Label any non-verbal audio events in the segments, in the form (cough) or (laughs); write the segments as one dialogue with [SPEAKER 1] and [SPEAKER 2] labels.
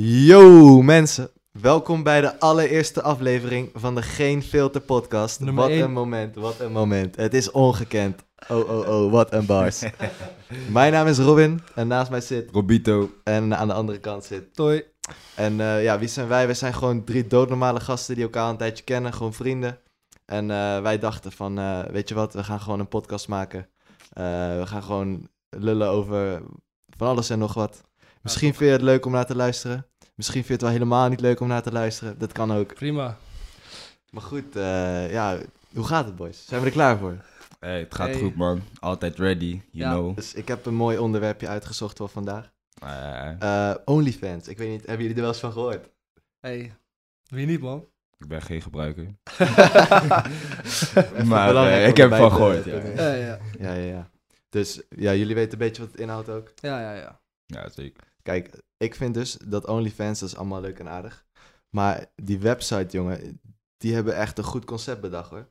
[SPEAKER 1] Yo mensen, welkom bij de allereerste aflevering van de Geen Filter podcast.
[SPEAKER 2] Nummer
[SPEAKER 1] wat
[SPEAKER 2] één.
[SPEAKER 1] een moment, wat een moment. Het is ongekend. Oh oh oh, wat een
[SPEAKER 2] (laughs)
[SPEAKER 1] bars. Mijn naam is Robin en naast mij zit
[SPEAKER 3] Robito.
[SPEAKER 1] en aan de andere kant zit.
[SPEAKER 2] Toi.
[SPEAKER 1] En eh, ja, wie zijn wij? Wij zijn gewoon drie doodnormale gasten die elkaar al een tijdje kennen, gewoon vrienden. En eh, wij dachten van, eh, weet je wat, we gaan gewoon een podcast maken. Eh, we gaan gewoon lullen over van alles en nog wat. Misschien vind je het leuk om naar te luisteren. Misschien vind je het wel helemaal niet leuk om naar te luisteren. Dat kan ook.
[SPEAKER 2] Prima.
[SPEAKER 1] Maar goed, eh, ja, hoe gaat het boys? Zijn we er klaar voor?
[SPEAKER 3] Hey, het gaat
[SPEAKER 2] Hey.
[SPEAKER 3] goed, man. Altijd ready, you
[SPEAKER 2] Ja.
[SPEAKER 3] know.
[SPEAKER 1] Dus ik heb een mooi onderwerpje uitgezocht voor vandaag.
[SPEAKER 3] Eh,
[SPEAKER 1] Eh, Onlyfans, ik weet niet, hebben jullie er wel eens van
[SPEAKER 3] (laughs)
[SPEAKER 1] gehoord?
[SPEAKER 2] Hey. Wie niet, man?
[SPEAKER 3] ik ben geen gebruiker.
[SPEAKER 1] Even
[SPEAKER 3] Maar,
[SPEAKER 1] belangrijk
[SPEAKER 3] eh,
[SPEAKER 1] om
[SPEAKER 3] ik heb
[SPEAKER 1] erbij
[SPEAKER 3] ervan
[SPEAKER 1] te-
[SPEAKER 3] gehoord,
[SPEAKER 1] te
[SPEAKER 3] ja.
[SPEAKER 1] doen.
[SPEAKER 2] Ja, ja,
[SPEAKER 1] Ja, ja, ja. Dus ja, jullie weten een beetje wat het inhoudt ook.
[SPEAKER 2] ja. ja, ja.
[SPEAKER 3] Ja,
[SPEAKER 2] (laughs)
[SPEAKER 3] zeker.
[SPEAKER 1] Kijk, ik vind dus dat OnlyFans, dat is allemaal leuk en aardig. Maar die website, jongen, die hebben echt een goed concept bedacht,
[SPEAKER 2] (laughs)
[SPEAKER 1] hoor.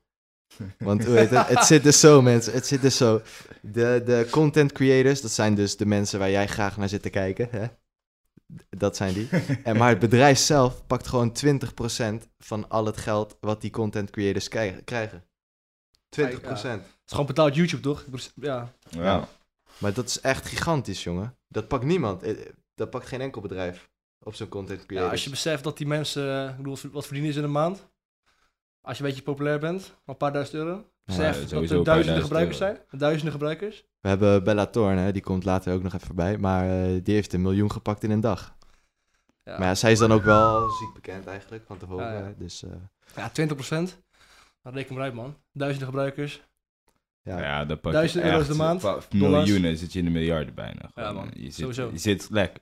[SPEAKER 1] Want hoe heet het? het zit dus zo, mensen. Het zit dus zo. De, de content creators, dat zijn dus de mensen waar jij graag naar zit te kijken. Hè? Dat zijn die. En, maar het bedrijf zelf pakt gewoon 20% van al het geld wat die content creators kij- krijgen. 20%.
[SPEAKER 2] Het is gewoon betaald YouTube, toch? Ik bedoel, Ja.
[SPEAKER 3] Ja.
[SPEAKER 1] Maar dat is echt gigantisch, jongen. Dat pakt niemand. Eh, eh, Dat pakt geen enkel bedrijf op zo'n content creator.
[SPEAKER 2] ja. Als je beseft dat die mensen, eh, ik bedoel, wat verdienen ze in een maand? Als je een beetje populair bent, een paar duizend euro. Besef
[SPEAKER 3] sowieso
[SPEAKER 2] dat
[SPEAKER 3] een
[SPEAKER 2] er
[SPEAKER 3] paar
[SPEAKER 2] duizenden
[SPEAKER 3] duizend
[SPEAKER 2] gebruikers
[SPEAKER 3] euro.
[SPEAKER 2] zijn. Duizenden gebruikers.
[SPEAKER 1] We hebben Bella Thorne, hè, die komt later ook nog even voorbij. Maar eh, die heeft een miljoen gepakt in een dag.
[SPEAKER 2] Ja, Ah,
[SPEAKER 1] Maar ja, zij is dan ook wel ziek bekend eigenlijk van tevoren.
[SPEAKER 2] Ja, ja.
[SPEAKER 1] hè. Dus eh,
[SPEAKER 2] ja 20 Dan reken maar uit, man. Duizenden gebruikers.
[SPEAKER 1] ja.
[SPEAKER 3] Ja, dan pak je
[SPEAKER 2] Duizend euro's
[SPEAKER 3] echt
[SPEAKER 2] de maand,
[SPEAKER 3] pa-
[SPEAKER 2] dollars.
[SPEAKER 3] Miljoenen zit je in de miljarden bijna. Gewoon,
[SPEAKER 2] man,
[SPEAKER 3] Je zit,
[SPEAKER 2] sowieso.
[SPEAKER 3] Je zit lekker.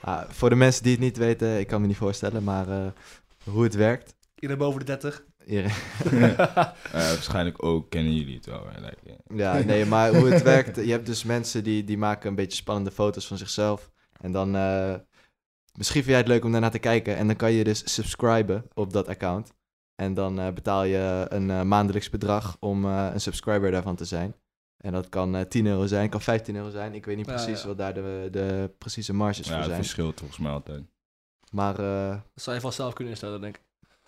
[SPEAKER 1] Ah, voor de mensen die het niet weten, ik kan me niet voorstellen, maar eh, hoe het werkt.
[SPEAKER 2] Iedereen boven de
[SPEAKER 1] (laughs)
[SPEAKER 2] 30.
[SPEAKER 1] Hier-
[SPEAKER 3] Eh, waarschijnlijk ook kennen jullie het wel. hè, Like, eh, (laughs)
[SPEAKER 1] ja, nee, maar hoe het werkt. Je hebt dus mensen die, die maken een beetje spannende foto's van zichzelf. En dan, eh, misschien vind jij het leuk om daarna te kijken. En dan kan je dus subscriben op dat account. En dan eh, betaal je een eh, maandelijks bedrag om eh, een subscriber daarvan te zijn. En dat kan eh, 10 euro zijn, kan 15 euro zijn. Ik weet niet
[SPEAKER 2] Ja,
[SPEAKER 1] precies
[SPEAKER 2] ja.
[SPEAKER 1] wat daar de, de precieze
[SPEAKER 2] Dus
[SPEAKER 1] marges
[SPEAKER 3] ja,
[SPEAKER 1] voor
[SPEAKER 3] het
[SPEAKER 1] zijn.
[SPEAKER 3] verschilt volgens mij altijd.
[SPEAKER 1] Maar eh,
[SPEAKER 2] Dat zou je vast zelf kunnen instellen, denk ik.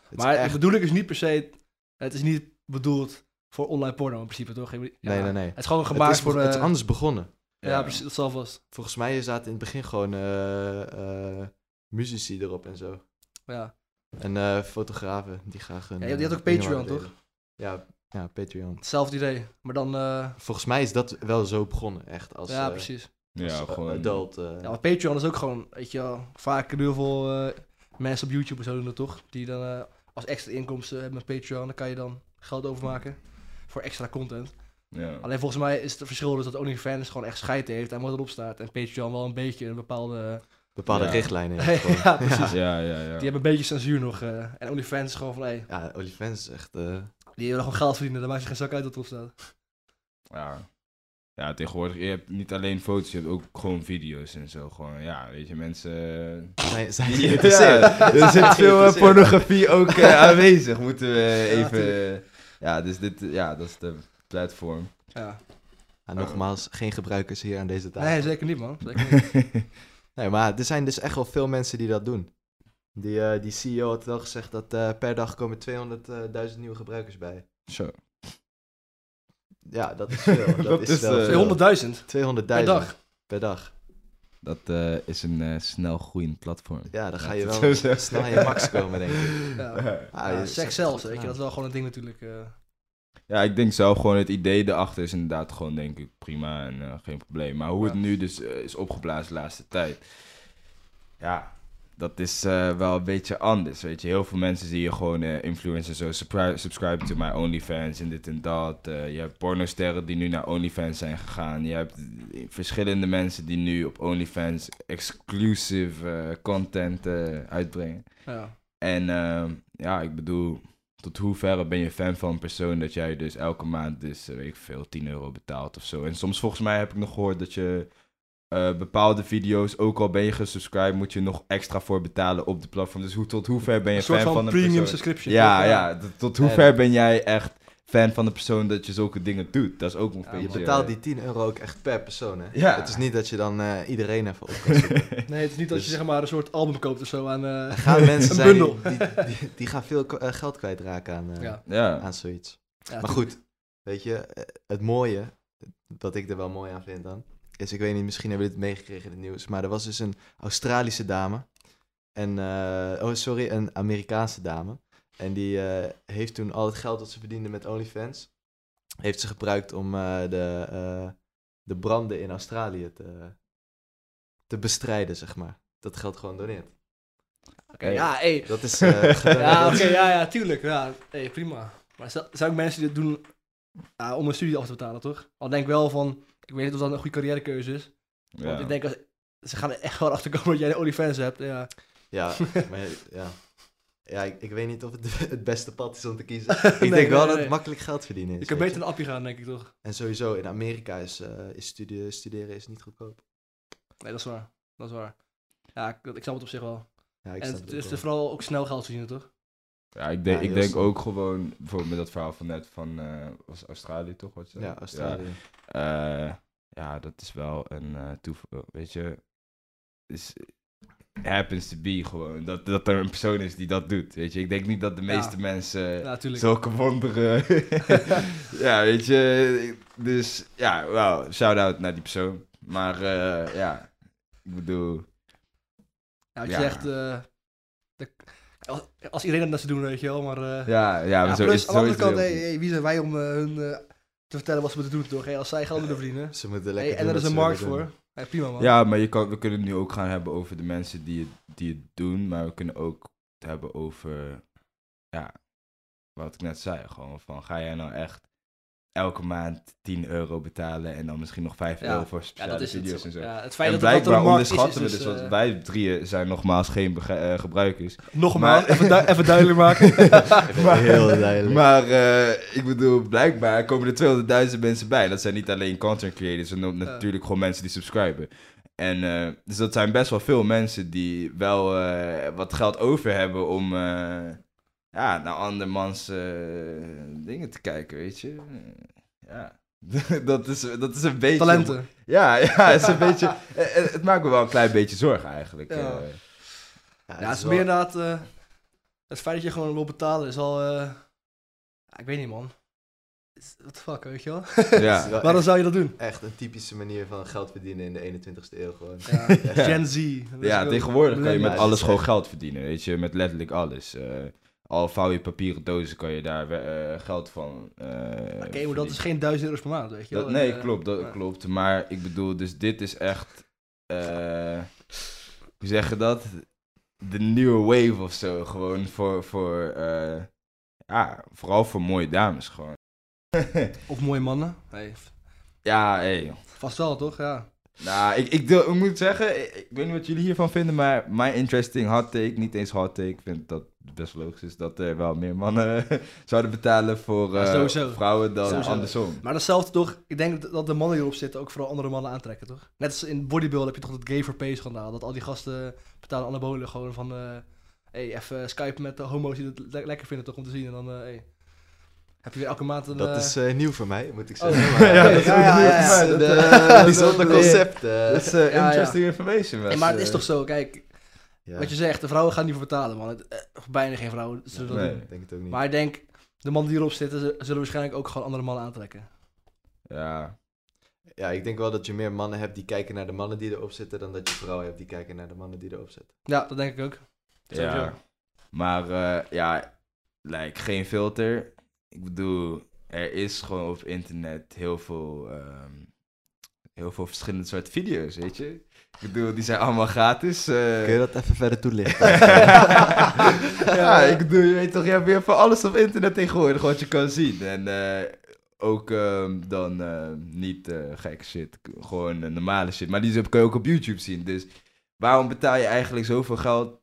[SPEAKER 1] het
[SPEAKER 2] maar
[SPEAKER 1] is echt...
[SPEAKER 2] de bedoeling is niet per se... Het is niet bedoeld voor online porno in principe, toch? Ik bedoel- ja.
[SPEAKER 1] Nee, nee, nee.
[SPEAKER 2] Het is gewoon
[SPEAKER 1] Het
[SPEAKER 2] gemaakt
[SPEAKER 1] is,
[SPEAKER 2] voor...
[SPEAKER 1] het is
[SPEAKER 2] eh,
[SPEAKER 1] anders begonnen.
[SPEAKER 2] Ja, precies. Dat zal vast.
[SPEAKER 1] Volgens mij zaten in het begin gewoon eh, eh, muzici erop en zo.
[SPEAKER 2] Ja.
[SPEAKER 1] En eh, fotografen die graag hun...
[SPEAKER 2] Ja, je- je had
[SPEAKER 1] eh,
[SPEAKER 2] ook
[SPEAKER 1] dingen
[SPEAKER 2] Patreon,
[SPEAKER 1] wilden
[SPEAKER 2] toch?
[SPEAKER 1] delen. Ja, ja, Patreon.
[SPEAKER 2] Hetzelfde idee. Maar dan... eh,
[SPEAKER 1] Volgens mij is dat wel zo begonnen, echt. Als,
[SPEAKER 2] ja,
[SPEAKER 1] eh,
[SPEAKER 2] precies.
[SPEAKER 1] als,
[SPEAKER 3] Ja,
[SPEAKER 1] eh,
[SPEAKER 3] gewoon.
[SPEAKER 1] adult. eh.
[SPEAKER 2] Ja, maar Patreon is ook gewoon... Weet je wel, vaak heel veel eh, mensen op YouTube en zo doen dat toch? Die dan eh, als extra inkomsten hebben met Patreon. Dan kan je dan geld overmaken voor extra content.
[SPEAKER 3] Ja.
[SPEAKER 2] Alleen volgens mij is het verschil dus dat OnlyFans gewoon echt scheid heeft aan wat erop staat. En Patreon wel een beetje een bepaalde...
[SPEAKER 1] Bepaalde
[SPEAKER 3] Ja.
[SPEAKER 1] richtlijnen.
[SPEAKER 2] (laughs) Ja,
[SPEAKER 1] heeft gewoon.
[SPEAKER 2] precies.
[SPEAKER 3] (laughs) Ja, ja, ja.
[SPEAKER 2] Die hebben een beetje censuur nog. eh, en OnlyFans is gewoon van... Hey,
[SPEAKER 1] Ja, Olifant is echt... eh,
[SPEAKER 2] (laughs) die willen gewoon geld verdienen. Daar maakt je geen zak uit wat erop staat.
[SPEAKER 3] Ja. Ja, tegenwoordig, je hebt niet alleen foto's, je hebt ook gewoon video's en zo. Gewoon, ja, weet je, mensen...
[SPEAKER 1] zijn, zijn
[SPEAKER 3] Ja,
[SPEAKER 1] geïnteresseerd.
[SPEAKER 3] er zit veel eh,
[SPEAKER 1] Geïnteresseerd.
[SPEAKER 3] pornografie ook eh, aanwezig, moeten we
[SPEAKER 2] Ja,
[SPEAKER 3] even... ja, dus dit, ja, dat is de platform.
[SPEAKER 2] Ja.
[SPEAKER 1] Ah, nogmaals, geen gebruikers hier aan deze tafel. Nee.
[SPEAKER 2] Nee, zeker niet man. Zeker
[SPEAKER 3] (laughs)
[SPEAKER 2] niet.
[SPEAKER 1] maar er zijn dus echt wel veel mensen die dat doen. Die, eh, die CEO had wel gezegd dat eh, per dag komen 200.000 nieuwe gebruikers bij.
[SPEAKER 3] Zo.
[SPEAKER 1] Ja, dat is veel.
[SPEAKER 3] (laughs)
[SPEAKER 1] Dat,
[SPEAKER 3] Dat
[SPEAKER 1] is,
[SPEAKER 3] is,
[SPEAKER 1] wel
[SPEAKER 3] eh,
[SPEAKER 1] veel. 200.000
[SPEAKER 2] 200.000 per dag.
[SPEAKER 1] per dag.
[SPEAKER 3] Dat eh, is een eh, snel groeiend platform.
[SPEAKER 1] Ja, dan ga
[SPEAKER 3] Laat
[SPEAKER 1] je
[SPEAKER 3] het
[SPEAKER 1] wel
[SPEAKER 3] zo zeggen.
[SPEAKER 1] snel aan je max komen, denk ik.
[SPEAKER 2] Ja.
[SPEAKER 1] Ah,
[SPEAKER 2] ja,
[SPEAKER 1] je-
[SPEAKER 2] seks zelfs, weet je,
[SPEAKER 1] Ja.
[SPEAKER 2] dat is wel gewoon een ding natuurlijk. eh.
[SPEAKER 3] Ja, ik denk zelf gewoon het idee erachter is inderdaad gewoon, denk ik, prima en eh, geen probleem. Maar hoe het
[SPEAKER 2] Ja.
[SPEAKER 3] nu dus eh, is opgeblazen de laatste tijd, ja, dat is eh, wel een beetje anders, weet je. Heel veel mensen zie je gewoon eh, influencers zo, subscribe, subscribe to my OnlyFans en dit en dat. Eh, je hebt pornosterren die nu naar OnlyFans zijn gegaan. Je hebt eh, verschillende mensen die nu op OnlyFans exclusive eh, content eh, uitbrengen.
[SPEAKER 2] ja.
[SPEAKER 3] En ehm, ja, ik bedoel, tot hoeverre ben je fan van een persoon dat jij dus elke maand dus, eh, weet ik veel, 10 euro betaalt of zo. En soms volgens mij heb ik nog gehoord dat je eh, bepaalde video's, ook al ben je gesubscribed, moet je nog extra voor betalen op de platform. Dus hoe, tot hoever ben je
[SPEAKER 2] Een soort
[SPEAKER 3] fan
[SPEAKER 2] van,
[SPEAKER 3] van een
[SPEAKER 2] premium
[SPEAKER 3] persoon?
[SPEAKER 2] subscription.
[SPEAKER 3] Ja,
[SPEAKER 2] toch?
[SPEAKER 3] ja, tot- tot hoever ben jij echt fan van de persoon dat je zulke dingen doet. Dat is ook een
[SPEAKER 2] Ja,
[SPEAKER 3] beetje...
[SPEAKER 1] Je
[SPEAKER 2] (laughs)
[SPEAKER 1] betaalt die 10 euro ook echt per persoon, hè?
[SPEAKER 3] Ja.
[SPEAKER 1] Het is niet dat je dan eh, iedereen even
[SPEAKER 2] (laughs)
[SPEAKER 1] op kan zoeken.
[SPEAKER 2] Nee, het is niet dat je
[SPEAKER 1] Dus-
[SPEAKER 2] zeg maar een soort album koopt of zo aan... eh,
[SPEAKER 1] (laughs) Er gaan mensen
[SPEAKER 2] Een
[SPEAKER 1] zijn die,
[SPEAKER 2] bundel.
[SPEAKER 1] die, die, die gaan veel k- eh, geld kwijtraken aan, eh,
[SPEAKER 2] Ja.
[SPEAKER 3] (laughs) Ja.
[SPEAKER 1] aan zoiets.
[SPEAKER 2] ja,
[SPEAKER 1] Maar goed, weet je, eh, het mooie, wat ik er wel mooi aan vind dan, is, ik weet niet, misschien hebben jullie het meegekregen in het nieuws, maar er was dus een Australische dame, en, eh, oh sorry, een Amerikaanse dame, en die eh, heeft toen al het geld dat ze verdiende met OnlyFans, heeft ze gebruikt om eh, de, eh, de branden in Australië te, te bestrijden, zeg maar. Dat geld gewoon doneert.
[SPEAKER 2] Oké, Ja, hé.
[SPEAKER 1] (laughs) Dat is
[SPEAKER 2] (laughs)
[SPEAKER 1] eh, gedaan-
[SPEAKER 2] Ja,
[SPEAKER 1] dat
[SPEAKER 2] oké,
[SPEAKER 1] is-
[SPEAKER 2] ja, ja, tuurlijk. Ja, hey, prima. Maar zel- zijn ook mensen die dit doen ja, om een studie af te betalen, toch? Al denk ik wel van, ik weet niet of dat een goede carrièrekeuze is. Want ik denk, als, ze gaan er echt wel achter komen dat jij de OnlyFans hebt. Ja. (laughs)
[SPEAKER 1] Ja, maar ja. Ja, ik, ik weet niet of het het beste pad is om te
[SPEAKER 2] (laughs)
[SPEAKER 1] kiezen. Ik
[SPEAKER 2] Nee,
[SPEAKER 1] denk wel
[SPEAKER 2] nee,
[SPEAKER 1] dat
[SPEAKER 2] nee.
[SPEAKER 1] het makkelijk geld verdienen is.
[SPEAKER 2] Je kunt
[SPEAKER 1] weet
[SPEAKER 2] beter een appje gaan, denk ik, toch?
[SPEAKER 1] je. En sowieso, in Amerika is, eh, is studie- studeren is niet goedkoop.
[SPEAKER 2] Nee, dat is waar. Dat is waar. Ja, ik, ik snap het op zich wel.
[SPEAKER 1] Ja, ik
[SPEAKER 2] en
[SPEAKER 1] snap
[SPEAKER 2] het
[SPEAKER 1] ook
[SPEAKER 2] is
[SPEAKER 1] wel.
[SPEAKER 2] er vooral ook snel geld te zien, toch?
[SPEAKER 3] Ja, ik, denk
[SPEAKER 1] Ja,
[SPEAKER 3] ik
[SPEAKER 1] heel
[SPEAKER 3] denk
[SPEAKER 1] stom.
[SPEAKER 3] ook gewoon, bijvoorbeeld met dat verhaal van net van, eh, was Australië toch? Wat ze-
[SPEAKER 1] Ja, Australië.
[SPEAKER 3] Ja, eh, ja, dat is wel een eh toeval, weet je. Is, happens to be gewoon, dat, dat er een persoon is die dat doet, weet je. Ik denk niet dat de
[SPEAKER 2] Ja.
[SPEAKER 3] meeste mensen
[SPEAKER 2] Ja, natuurlijk.
[SPEAKER 3] zulke
[SPEAKER 2] (laughs)
[SPEAKER 3] wonderen... (laughs) ja, weet je, dus ja, wauw, shout-out naar die persoon. Maar eh, ja, ik bedoel...
[SPEAKER 2] Ja, wat je
[SPEAKER 3] Ja.
[SPEAKER 2] zegt, eh, de- als, als iedereen dat net zou doen, weet je wel, maar... eh,
[SPEAKER 3] Ja, ja, maar zo
[SPEAKER 2] plus,
[SPEAKER 3] is het
[SPEAKER 2] aan de andere
[SPEAKER 3] sowieso
[SPEAKER 2] kant,
[SPEAKER 3] heel
[SPEAKER 2] hey, hey, wie zijn wij om eh, hun eh, te vertellen wat ze moeten doen, toch? Hey, als zij geld willen verdienen.
[SPEAKER 1] Ze moeten
[SPEAKER 2] Hey,
[SPEAKER 1] lekker
[SPEAKER 2] en
[SPEAKER 1] doen
[SPEAKER 2] er is
[SPEAKER 1] wat
[SPEAKER 2] een
[SPEAKER 1] ze
[SPEAKER 2] markt
[SPEAKER 1] willen
[SPEAKER 2] voor. Hey, prima, man.
[SPEAKER 3] Ja, maar je kan, we kunnen het nu ook gaan hebben over de mensen die het, die het doen, maar we kunnen ook het hebben over, ja, wat ik net zei, gewoon van, ga jij nou echt elke maand 10 euro betalen en dan misschien nog 5
[SPEAKER 2] Ja.
[SPEAKER 3] euro voor
[SPEAKER 2] Ja,
[SPEAKER 3] speciale
[SPEAKER 2] dat is het.
[SPEAKER 3] video's en zo.
[SPEAKER 2] Ja, het feit
[SPEAKER 3] En
[SPEAKER 2] dat het- dat er
[SPEAKER 3] blijkbaar
[SPEAKER 2] een markt is, is
[SPEAKER 3] onderschatten we dus,
[SPEAKER 2] eh,
[SPEAKER 3] want wij drieën zijn nogmaals geen bege- eh, gebruikers.
[SPEAKER 2] (laughs) Nogmaals,
[SPEAKER 3] Maar-
[SPEAKER 2] even, du- even
[SPEAKER 3] (laughs)
[SPEAKER 2] duidelijk maken. (laughs)
[SPEAKER 1] doen. Heel duidelijk.
[SPEAKER 3] Maar eh, ik bedoel, blijkbaar komen er 200.000 mensen bij. Dat zijn niet alleen content creators, maar ook
[SPEAKER 2] Ja.
[SPEAKER 3] natuurlijk gewoon mensen die subscriben. En, eh, dus dat zijn best wel veel mensen die wel eh, wat geld over hebben om eh, ja, naar andermans eh, dingen te kijken, weet je. Ja. (laughs) dat, is, dat is een beetje...
[SPEAKER 2] Talenten.
[SPEAKER 3] Ja, ja het, is een beetje,
[SPEAKER 2] (laughs)
[SPEAKER 3] eh, eh, het maakt me wel een klein beetje zorgen eigenlijk.
[SPEAKER 2] Ja.
[SPEAKER 3] eh.
[SPEAKER 1] Ja,
[SPEAKER 2] Ja,
[SPEAKER 1] het
[SPEAKER 2] het
[SPEAKER 1] is
[SPEAKER 2] is
[SPEAKER 1] wel-
[SPEAKER 2] meer inderdaad... eh, het feit dat je gewoon wil betalen is al... eh, ja, ik weet niet, man. Is- What the fuck, weet je wel?
[SPEAKER 1] (laughs) het is
[SPEAKER 3] ja.
[SPEAKER 1] wel
[SPEAKER 2] (laughs) Waarom
[SPEAKER 1] echt,
[SPEAKER 2] zou je dat doen?
[SPEAKER 1] echt een typische manier van geld verdienen in de 21ste eeuw gewoon.
[SPEAKER 2] Ja, Gen Z. Dat is
[SPEAKER 3] Ja,
[SPEAKER 2] ook-
[SPEAKER 3] tegenwoordig kan je met
[SPEAKER 1] millennials.
[SPEAKER 3] alles gewoon geld verdienen, weet je. Met letterlijk alles. Eh, al vouw je papieren dozen, kan je daar eh, geld van eh,
[SPEAKER 2] Oké, maar dat
[SPEAKER 3] verdienen.
[SPEAKER 2] is geen duizend euro's per maand, weet je wel?
[SPEAKER 3] Dat- nee,
[SPEAKER 2] Eh,
[SPEAKER 3] klopt, dat
[SPEAKER 2] ja.
[SPEAKER 3] klopt. Maar ik bedoel, dus dit is echt... eh, hoe zeg je dat? De nieuwe wave of zo, gewoon voor... voor eh, ja, vooral voor mooie dames, gewoon. (laughs)
[SPEAKER 2] Of mooie mannen. Nee, v-
[SPEAKER 3] ja, hé,
[SPEAKER 2] vast wel, toch? Ja.
[SPEAKER 3] Nou, ik, ik, deel- ik moet zeggen, ik, ik weet niet wat jullie hiervan vinden, maar mijn interesting hot take, niet eens hot take, ik vind dat het best logisch is dat er wel meer mannen (laughs) zouden betalen voor
[SPEAKER 2] Ja,
[SPEAKER 3] eh,
[SPEAKER 2] sowieso.
[SPEAKER 3] vrouwen dan
[SPEAKER 2] Sowieso.
[SPEAKER 3] andersom.
[SPEAKER 2] Maar datzelfde toch, ik denk dat- dat de mannen die erop zitten ook vooral andere mannen aantrekken, toch? Net als in bodybuilding heb je toch dat gay for pay schandaal. Dat al die gasten betalen anabolen gewoon van... eh hey, even skypen met de homo's die het le- lekker vinden toch om te zien. En dan, eh, hey, heb je weer elke maand een...
[SPEAKER 1] Dat
[SPEAKER 2] eh,
[SPEAKER 1] is eh, nieuw voor mij, moet ik
[SPEAKER 2] Oh.
[SPEAKER 1] zeggen. maar-
[SPEAKER 3] Ja, dat is
[SPEAKER 1] (laughs)
[SPEAKER 2] (laughs) Ja, ja,
[SPEAKER 3] nieuw
[SPEAKER 2] ja, ja.
[SPEAKER 3] voor mij. Dat,
[SPEAKER 1] Eh,
[SPEAKER 3] eh,
[SPEAKER 1] (laughs)
[SPEAKER 3] dat-
[SPEAKER 1] Bijzonder
[SPEAKER 3] dat-
[SPEAKER 1] concept. eh.
[SPEAKER 3] Dat is eh,
[SPEAKER 2] ja.
[SPEAKER 3] interesting information.
[SPEAKER 2] hey,
[SPEAKER 3] was,
[SPEAKER 2] maar het is
[SPEAKER 3] eh,
[SPEAKER 2] toch zo, kijk,
[SPEAKER 1] Ja,
[SPEAKER 2] wat je zegt, de vrouwen gaan niet voor betalen, man. Het, eh, bijna geen vrouwen zullen dat
[SPEAKER 3] Nee.
[SPEAKER 2] doen.
[SPEAKER 1] ik denk het ook niet.
[SPEAKER 2] Maar ik denk, de mannen die erop zitten, ze- zullen waarschijnlijk ook gewoon andere mannen aantrekken.
[SPEAKER 3] Ja,
[SPEAKER 1] Ja, ik denk wel dat je meer mannen hebt die kijken naar de mannen die erop zitten, dan dat je vrouwen hebt die kijken naar de mannen die erop zitten.
[SPEAKER 2] Ja, dat denk ik ook. Sowieso.
[SPEAKER 3] ja. Maar eh, ja, like, geen filter. Ik bedoel, er is gewoon op internet heel veel, ehm, heel veel verschillende soorten video's, weet je? Ik bedoel, die zijn allemaal gratis. eh.
[SPEAKER 1] Kun je dat even verder toelichten?
[SPEAKER 3] (laughs) ja, ik bedoel, je weet toch, je hebt weer van alles op internet tegenwoordig wat je kan zien. En eh, ook ehm, dan eh, niet eh gek shit, k- gewoon eh, normale shit. Maar die kun je ook op YouTube zien. Dus waarom betaal je eigenlijk zoveel geld?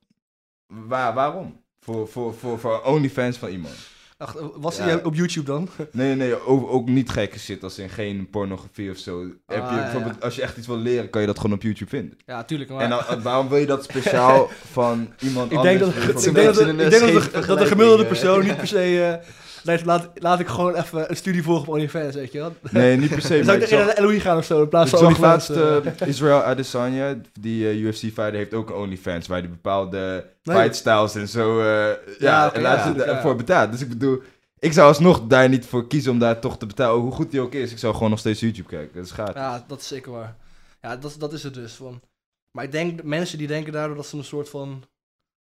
[SPEAKER 3] Waar, waarom? Voor, voor, voor, voor OnlyFans van iemand.
[SPEAKER 2] Ach, was
[SPEAKER 3] Ja.
[SPEAKER 2] hij op YouTube dan?
[SPEAKER 3] Nee, nee, nee, ook, ook niet gekke shit als in geen pornografie of zo. Heb
[SPEAKER 2] Ah,
[SPEAKER 3] je,
[SPEAKER 2] ja,
[SPEAKER 3] bijvoorbeeld, Als je echt iets wil leren, kan je dat gewoon op YouTube vinden.
[SPEAKER 2] (laughs) Ja, tuurlijk. Maar...
[SPEAKER 3] En dan, eh, waarom wil je dat
[SPEAKER 2] (laughs)
[SPEAKER 3] speciaal van iemand
[SPEAKER 2] ik
[SPEAKER 3] anders?
[SPEAKER 2] denk dat,
[SPEAKER 3] weer
[SPEAKER 2] ik
[SPEAKER 3] voor
[SPEAKER 1] een
[SPEAKER 2] denk dat,
[SPEAKER 1] beetje
[SPEAKER 2] ik
[SPEAKER 1] een
[SPEAKER 2] denk dat,
[SPEAKER 1] scheve
[SPEAKER 2] de- dat de gemiddelde
[SPEAKER 1] vergelijking,
[SPEAKER 2] persoon niet per se eh, Laat, laat, laat ik gewoon even een studie volgen op OnlyFans, weet je wel.
[SPEAKER 3] Nee, niet per se.
[SPEAKER 2] Dan (laughs) zou
[SPEAKER 3] maar
[SPEAKER 2] ik
[SPEAKER 3] ik zag,
[SPEAKER 2] tegen de LOE gaan of zo, in plaats
[SPEAKER 3] ik
[SPEAKER 2] van
[SPEAKER 3] zag
[SPEAKER 2] OnlyFans.
[SPEAKER 3] laatst
[SPEAKER 2] eh. (laughs)
[SPEAKER 3] eh, Israel Adesanya, die eh, UFC-fighter, heeft ook een OnlyFans. Waar die bepaalde
[SPEAKER 2] Nee.
[SPEAKER 3] fight styles en zo eh, ja,
[SPEAKER 2] oké,
[SPEAKER 3] en laat
[SPEAKER 2] ja,
[SPEAKER 3] ze
[SPEAKER 2] ja.
[SPEAKER 3] daarvoor betaald. Dus ik bedoel, ik zou alsnog daar niet voor kiezen om daar toch te betalen. Hoe goed die ook is, ik zou gewoon nog steeds YouTube kijken. Dat is gaaf.
[SPEAKER 2] Ja, dat is zeker waar. Ja, dat, dat is het dus. Van. Maar ik denk, mensen die denken daardoor dat ze een soort van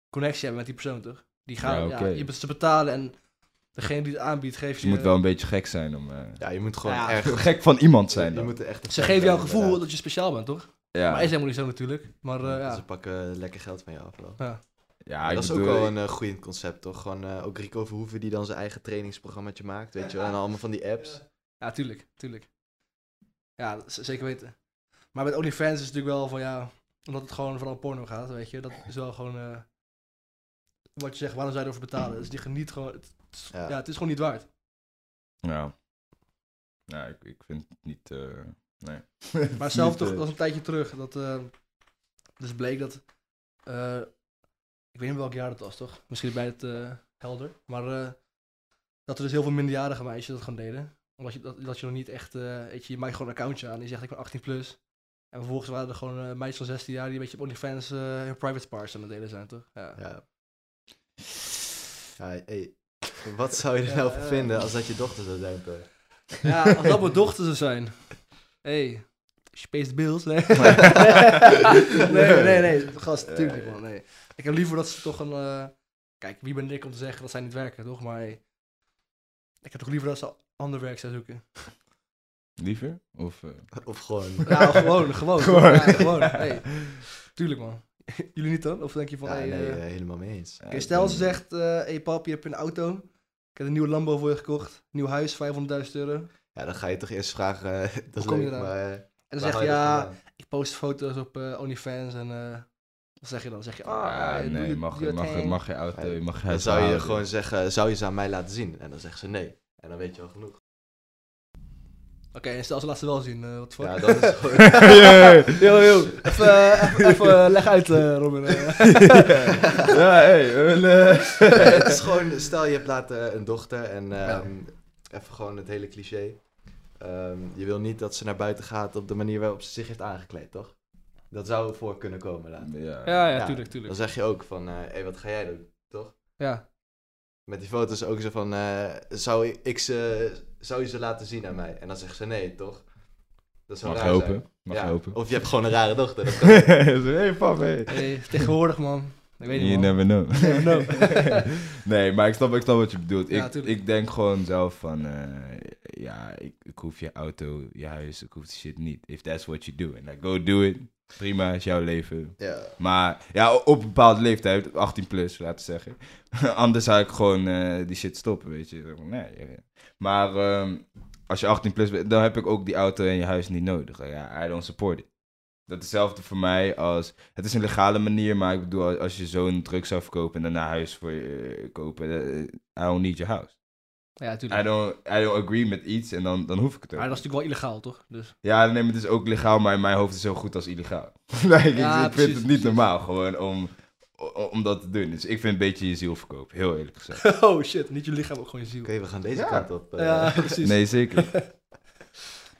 [SPEAKER 2] connectie hebben met die persoon, toch? Die gaan,
[SPEAKER 3] Ja,
[SPEAKER 2] ja,
[SPEAKER 3] oké.
[SPEAKER 2] je moet ze betalen en degene die het aanbiedt geeft
[SPEAKER 3] Dus
[SPEAKER 2] je...
[SPEAKER 3] je moet wel een beetje gek zijn om... eh,
[SPEAKER 1] (laughs) Ja, je moet gewoon
[SPEAKER 2] Ja,
[SPEAKER 1] (laughs) echt...
[SPEAKER 3] (laughs) gek van iemand zijn
[SPEAKER 1] je
[SPEAKER 3] dan.
[SPEAKER 1] moet er echt een
[SPEAKER 2] Ze
[SPEAKER 1] fan
[SPEAKER 2] geven jou een
[SPEAKER 1] zijn,
[SPEAKER 2] gevoel
[SPEAKER 1] inderdaad.
[SPEAKER 2] dat je speciaal bent, toch?
[SPEAKER 3] ja.
[SPEAKER 2] Maar is helemaal niet zo natuurlijk. Maar eh,
[SPEAKER 1] Ja, Ze
[SPEAKER 2] ja.
[SPEAKER 1] pakken lekker geld van je af wel.
[SPEAKER 3] ja, ik
[SPEAKER 1] dat is ook
[SPEAKER 3] bedoel,
[SPEAKER 1] wel een eh, goed concept, toch? Gewoon eh, ook Rico Verhoeven die dan zijn eigen trainingsprogrammaatje maakt, weet je wel. En allemaal van die apps.
[SPEAKER 2] ja, tuurlijk, tuurlijk. Ja, dat z- zeker weten. Maar met OnlyFans is het natuurlijk wel van, ja... Omdat het gewoon vooral porno gaat, weet je. Dat is wel gewoon... eh, wat je zegt, waarom zou je ervoor betalen? Dus die geniet gewoon... Het, het-
[SPEAKER 1] Ja.
[SPEAKER 2] ja, het is gewoon niet waard.
[SPEAKER 3] Ja. Ja, ik, ik vind het niet... eh, nee. (laughs)
[SPEAKER 2] Maar zelf toch,
[SPEAKER 3] eh,
[SPEAKER 2] dat was een tijdje terug. Dat, eh, dus bleek dat. eh, ik weet niet welk jaar dat was, toch? Misschien bij het eh, helder. Maar eh, dat er dus heel veel minderjarige meisjes dat gewoon deden. Omdat je, dat, dat je nog niet echt. eh, weet je, je maakt gewoon een accountje aan. Die zegt ik ben 18 plus. En vervolgens waren er gewoon eh, meisjes van 16 jaar die een beetje op OnlyFans eh hun private parts aan het delen zijn, toch? Ja.
[SPEAKER 1] Ja. ja hey, wat zou je er nou van
[SPEAKER 2] Ja, ja.
[SPEAKER 1] vinden als dat je dochter zou zijn? Peter?
[SPEAKER 2] Ja, als dat mijn dochter zou zijn. hey, Space Bills, nee. (laughs) nee, nee, nee, gast, natuurlijk niet, man, nee. Ik heb liever dat ze toch een... eh, Kijk, wie ben ik om te zeggen dat zij niet werken, toch? Maar hey, ik heb toch liever dat ze ander werk zou zoeken.
[SPEAKER 3] (laughs) Liever? Of... eh,
[SPEAKER 1] Of
[SPEAKER 2] (laughs)
[SPEAKER 1] gewoon...
[SPEAKER 2] Ja, gewoon, gewoon. toch?
[SPEAKER 3] Gewoon.
[SPEAKER 2] Ja,
[SPEAKER 3] (laughs)
[SPEAKER 2] gewoon, hey. Tuurlijk, man. (laughs) Jullie niet dan? Of denk je van...
[SPEAKER 1] Ja,
[SPEAKER 2] hey,
[SPEAKER 1] nee,
[SPEAKER 2] eh,
[SPEAKER 1] eh, helemaal mee eens.
[SPEAKER 3] ja,
[SPEAKER 2] Oké,
[SPEAKER 3] ik
[SPEAKER 2] stel
[SPEAKER 3] ben-
[SPEAKER 2] ze zegt, eh hey pap, je hebt een auto. Ik heb een nieuwe Lambo voor je gekocht. Nieuw huis, 500.000 euro.
[SPEAKER 1] Ja, dan ga je toch eerst vragen, eh, (laughs) dat is
[SPEAKER 2] kom je
[SPEAKER 1] leuk,
[SPEAKER 2] eraan?
[SPEAKER 1] maar... eh,
[SPEAKER 2] En
[SPEAKER 1] waar
[SPEAKER 2] dan zeg
[SPEAKER 1] haal
[SPEAKER 2] je,
[SPEAKER 1] dat
[SPEAKER 2] ja,
[SPEAKER 1] vandaan?
[SPEAKER 2] ik post foto's op eh, OnlyFans en eh, wat zeg je dan? Zeg je, ah,
[SPEAKER 3] Ah,
[SPEAKER 2] eh, doe
[SPEAKER 3] nee,
[SPEAKER 2] je-
[SPEAKER 3] mag,
[SPEAKER 2] doe je
[SPEAKER 3] mag, mag,
[SPEAKER 2] thing.
[SPEAKER 3] je auto, je mag je
[SPEAKER 1] Dan
[SPEAKER 3] huis
[SPEAKER 1] zou je
[SPEAKER 3] verhouden. (laughs)
[SPEAKER 1] gewoon zeggen, zou je ze aan mij laten zien? En dan zegt ze nee. En dan weet je al genoeg.
[SPEAKER 2] Oké, en stel ze laat ze wel zien, eh, wat voor.
[SPEAKER 1] (laughs) Ja, dat (laughs) is gewoon...
[SPEAKER 2] Yo, yo, (laughs) even, eh, even, even, eh, leg uit, eh, Robin. eh.
[SPEAKER 3] ja, hey, we willen-
[SPEAKER 1] Nee, (laughs) (laughs) het is gewoon, stel je hebt later een dochter en ehm, even gewoon het hele cliché. Ehm, je wil niet dat ze naar buiten gaat op de manier waarop ze zich heeft aangekleed, toch? Dat zou voor kunnen komen later.
[SPEAKER 3] (laughs) ja.
[SPEAKER 2] ja,
[SPEAKER 1] Ja,
[SPEAKER 2] ja, tuurlijk,
[SPEAKER 1] Dan
[SPEAKER 2] tuurlijk.
[SPEAKER 1] zeg je ook van, hé, hey, wat ga jij doen?
[SPEAKER 2] Ja,
[SPEAKER 1] Met die foto's ook zo van, eh, zou, ik ze, zou je ze laten zien aan mij? En dan zegt ze nee, toch? Dat zou
[SPEAKER 3] Mag je
[SPEAKER 1] raar zijn.
[SPEAKER 3] hopen, mag je
[SPEAKER 1] Ja,
[SPEAKER 3] hopen.
[SPEAKER 1] Of je hebt gewoon een rare
[SPEAKER 3] (laughs)
[SPEAKER 1] dochter. dat kan ook.
[SPEAKER 3] hey, pap, hey.
[SPEAKER 2] hey, tegenwoordig, man. Ik weet
[SPEAKER 3] You
[SPEAKER 2] niet, man.
[SPEAKER 3] never know.
[SPEAKER 2] never know.
[SPEAKER 3] (laughs) nee, maar ik snap, ik snap wat je bedoelt.
[SPEAKER 2] Ja,
[SPEAKER 3] ik,
[SPEAKER 2] tuurlijk.
[SPEAKER 3] ik denk gewoon zelf van, eh, ja, ik, ik hoef je auto, je huis, ik hoef die shit niet. If that's what you do. En dan go do it. Prima, is jouw leven.
[SPEAKER 1] ja.
[SPEAKER 3] Maar ja, op een bepaalde leeftijd, 18 plus, laten we zeggen. (laughs) Anders zou ik gewoon eh, die shit stoppen, weet je. Zeg maar, Nee, ja, ja. Maar ehm, als je 18 plus bent, dan heb ik ook die auto en je huis niet nodig. Ja, I don't support it. Dat is hetzelfde voor mij als... Het is een legale manier, maar ik bedoel, als- als je zo'n druk zou verkopen en daarna huis voor je eh, kopen, eh, I don't need your house.
[SPEAKER 2] Ja,
[SPEAKER 3] I
[SPEAKER 2] tuurlijk.
[SPEAKER 3] don't, I don't agree met iets en dan, dan hoef ik het ook.
[SPEAKER 2] Maar dat is natuurlijk wel illegaal, toch?
[SPEAKER 3] (laughs)
[SPEAKER 2] Dus,
[SPEAKER 3] Ja, nee, maar het is ook legaal, maar in mijn hoofd is het zo goed als illegaal. (laughs) Like, ik-
[SPEAKER 2] Ja,
[SPEAKER 3] ik, vind
[SPEAKER 2] precies,
[SPEAKER 3] het niet
[SPEAKER 2] precies.
[SPEAKER 3] normaal gewoon om, o- om dat te doen. Dus ik vind een beetje je ziel verkopen, heel eerlijk gezegd.
[SPEAKER 2] oh shit, niet je lichaam, ook gewoon je ziel.
[SPEAKER 1] Oké, we gaan deze
[SPEAKER 3] Ja.
[SPEAKER 1] kant op. eh.
[SPEAKER 2] Ja, precies.
[SPEAKER 3] Nee, zeker.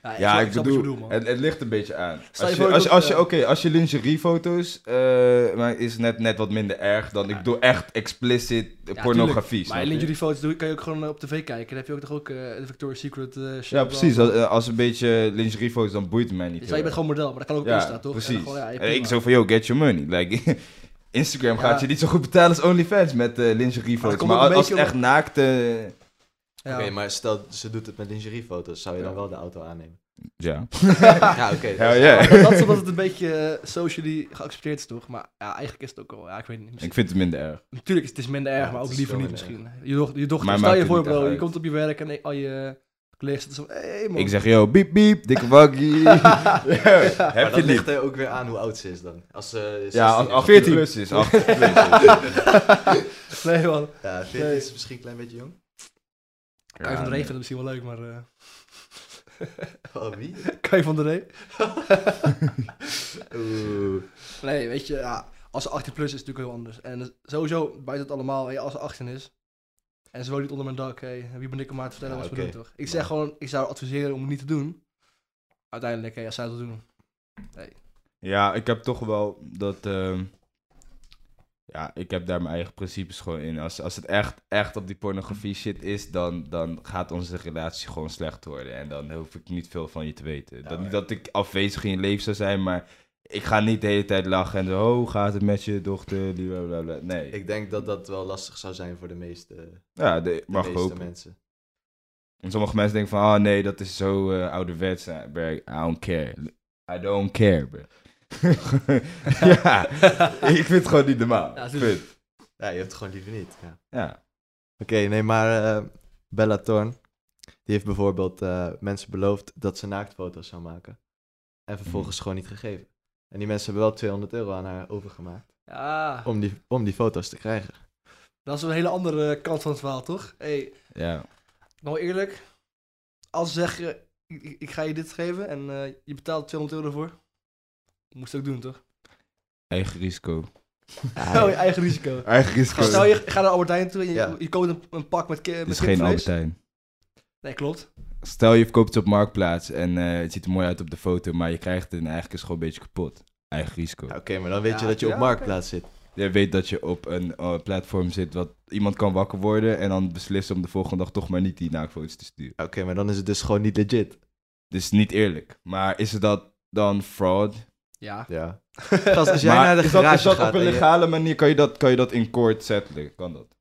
[SPEAKER 2] Ja,
[SPEAKER 3] Ja,
[SPEAKER 2] snap-
[SPEAKER 3] ik
[SPEAKER 2] snap wat je
[SPEAKER 3] bedoel,
[SPEAKER 2] man.
[SPEAKER 3] het, het ligt een beetje aan.
[SPEAKER 2] Stel
[SPEAKER 3] Als
[SPEAKER 2] je
[SPEAKER 3] je,
[SPEAKER 2] voor
[SPEAKER 3] als je,
[SPEAKER 2] dat,
[SPEAKER 3] als je,
[SPEAKER 2] eh,
[SPEAKER 3] oké, als je lingeriefoto's, eh, maar is net, net wat minder erg dan ik doe echt explicit eh,
[SPEAKER 2] Ja,
[SPEAKER 3] pornografie.
[SPEAKER 2] Maar
[SPEAKER 3] snap je?
[SPEAKER 2] in jullie foto's doe- kan je ook gewoon eh, op tv kijken. Dan heb je ook toch ook eh, de Victoria's Secret eh, shit.
[SPEAKER 3] Ja, precies. Als, eh, als een beetje lingeriefoto's, dan boeit het mij niet
[SPEAKER 2] Dus
[SPEAKER 3] heel
[SPEAKER 2] je bent
[SPEAKER 3] erg.
[SPEAKER 2] gewoon model, maar dat kan ook op Insta, toch? En
[SPEAKER 3] Precies.
[SPEAKER 2] gewoon, ja, je
[SPEAKER 3] en ik
[SPEAKER 2] prima.
[SPEAKER 3] zo van, yo, get your money. Like, (laughs) Instagram
[SPEAKER 2] Ja.
[SPEAKER 3] gaat je niet zo goed betalen als OnlyFans met eh lingerie
[SPEAKER 2] Maar dat
[SPEAKER 3] foto's.
[SPEAKER 2] komt
[SPEAKER 3] Maar,
[SPEAKER 2] ook een
[SPEAKER 3] als het
[SPEAKER 2] beetje
[SPEAKER 3] echt eh, naakte...
[SPEAKER 2] Ja.
[SPEAKER 1] Oké, maar stel ze doet het met lingeriefoto's, zou je dan
[SPEAKER 3] Ja.
[SPEAKER 1] wel de auto aannemen?
[SPEAKER 3] Ja.
[SPEAKER 1] (laughs) ja, oké. dat
[SPEAKER 3] Hell
[SPEAKER 1] is-
[SPEAKER 3] yeah.
[SPEAKER 2] Maar dat is omdat het een beetje eh, socially geaccepteerd is, toch? Maar ja, eigenlijk is het ook al. Ja, ik weet niet.
[SPEAKER 3] Ik vind het minder erg.
[SPEAKER 2] Natuurlijk is het is minder erg,
[SPEAKER 1] Ja,
[SPEAKER 2] maar
[SPEAKER 1] het
[SPEAKER 2] ook
[SPEAKER 1] is
[SPEAKER 2] liever
[SPEAKER 1] veel
[SPEAKER 2] niet
[SPEAKER 1] minder
[SPEAKER 2] misschien. Je, doch, je dochter,
[SPEAKER 3] Mij
[SPEAKER 2] stel
[SPEAKER 3] maakt
[SPEAKER 2] je
[SPEAKER 3] het
[SPEAKER 2] voor,
[SPEAKER 3] niet echt
[SPEAKER 2] bro. Je
[SPEAKER 3] uit.
[SPEAKER 2] komt op je werk en al je eh, collega's zitten zo van, hey, man.
[SPEAKER 3] Ik
[SPEAKER 2] (laughs)
[SPEAKER 3] zeg, yo, biep, biep, dikke waggie. Ja,
[SPEAKER 1] Maar
[SPEAKER 3] Heb
[SPEAKER 1] dat
[SPEAKER 3] je
[SPEAKER 1] ligt
[SPEAKER 3] lief.
[SPEAKER 1] er ook weer aan hoe oud ze is dan. Als ze 16
[SPEAKER 3] Ja, als
[SPEAKER 1] is.
[SPEAKER 3] 18 plus is. 18 plus is.
[SPEAKER 2] Nee, man.
[SPEAKER 1] Ja, 14
[SPEAKER 2] Nee.
[SPEAKER 1] is misschien een klein beetje jong. (laughs)
[SPEAKER 2] Kai van der Ree
[SPEAKER 3] nee.
[SPEAKER 2] vindt het misschien wel leuk, maar... eh (laughs)
[SPEAKER 1] Oh, wie?
[SPEAKER 2] Kai van der Ree?
[SPEAKER 1] Oeh.
[SPEAKER 2] Nee, weet je, ja, als ze 18 plus is, is het natuurlijk heel anders. En sowieso, buiten het allemaal, hey, als ze 18 is, En ze woont niet onder mijn dak. Hey, wie ben ik om haar te vertellen
[SPEAKER 1] Ja,
[SPEAKER 2] wat we
[SPEAKER 1] oké.
[SPEAKER 2] doen, toch? Ik zeg
[SPEAKER 1] Maar-
[SPEAKER 2] gewoon, ik zou haar adviseren om het niet te doen. Uiteindelijk, hey, als zij dat doen.
[SPEAKER 3] Ja, ik heb toch wel dat. ehm, ja, ik heb daar mijn eigen principes gewoon in. Als, als het echt, echt op die pornografie shit is, dan, dan gaat onze relatie gewoon slecht worden. En dan hoef ik niet veel van je te weten. Dat,
[SPEAKER 1] maar-
[SPEAKER 3] niet dat ik afwezig in je leven zou zijn, maar ik ga niet de hele tijd lachen en zo. Oh, hoe gaat het met je dochter? Die bla, bla, bla. Nee.
[SPEAKER 1] Ik denk dat dat wel lastig zou zijn voor de meeste, de
[SPEAKER 3] ja, de, mag
[SPEAKER 1] meeste
[SPEAKER 3] hopen.
[SPEAKER 1] mensen.
[SPEAKER 3] En sommige mensen denken van, ah nee, dat is zo eh, ouderwets. Nou, bro, I don't care. I don't care, bro. (laughs)
[SPEAKER 2] (laughs)
[SPEAKER 3] ja, ik vind het gewoon niet normaal.
[SPEAKER 2] Ja, tuurlijk.
[SPEAKER 3] Punt.
[SPEAKER 1] Ja, je hebt het gewoon liever niet. Ja.
[SPEAKER 3] Ja.
[SPEAKER 1] Oké, nee, maar eh, Bella Thorne, die heeft bijvoorbeeld eh, mensen beloofd dat ze naaktfoto's zou maken. En vervolgens
[SPEAKER 3] Mhm.
[SPEAKER 1] gewoon niet gegeven. En die mensen hebben wel 200 euro aan haar overgemaakt
[SPEAKER 2] Ja,
[SPEAKER 1] om die, om die foto's te krijgen.
[SPEAKER 2] dat is een hele andere kant van het verhaal, toch? Hey,
[SPEAKER 3] ja.
[SPEAKER 2] Nou eerlijk, als ze zeggen, ik, ik- ik ga je dit geven en eh, je betaalt 200 euro voor. Moest je ook doen, toch?
[SPEAKER 3] Eigen risico.
[SPEAKER 1] (laughs)
[SPEAKER 3] Ah,
[SPEAKER 1] Ah,
[SPEAKER 2] Oh, je eigen risico.
[SPEAKER 3] Eigen risico.
[SPEAKER 2] Stel, je gaat naar Albert Heijn toe en je,
[SPEAKER 1] Ja.
[SPEAKER 2] je koopt een, een pak met, ki-
[SPEAKER 3] Het
[SPEAKER 2] met
[SPEAKER 3] is geen
[SPEAKER 2] kipvlees.
[SPEAKER 3] Albert Heijn.
[SPEAKER 2] Nee, klopt.
[SPEAKER 3] Stel je verkoopt het op Marktplaats en eh, het ziet er mooi uit op de foto, maar je krijgt het en eigenlijk is het gewoon een beetje kapot. Eigen risico.
[SPEAKER 1] Ja, Oké, maar dan weet
[SPEAKER 2] Ja,
[SPEAKER 1] je dat je op
[SPEAKER 2] ja,
[SPEAKER 1] marktplaats zit.
[SPEAKER 3] Je weet dat je op een eh, platform zit wat iemand kan wakker worden en dan beslissen om de volgende dag toch maar niet die naaktfoto's te sturen.
[SPEAKER 1] Oké, maar dan is het dus gewoon niet legit.
[SPEAKER 3] Dus niet eerlijk. Maar is het dat dan fraud?
[SPEAKER 2] Ja.
[SPEAKER 1] Ja. (laughs) Gast, als jij
[SPEAKER 3] Maar
[SPEAKER 1] naar de
[SPEAKER 3] is dat,
[SPEAKER 1] garage
[SPEAKER 3] is dat
[SPEAKER 1] gaat
[SPEAKER 3] op een
[SPEAKER 1] en je-
[SPEAKER 3] legale manier, kan je dat, kan je dat in court settelen? Kan dat?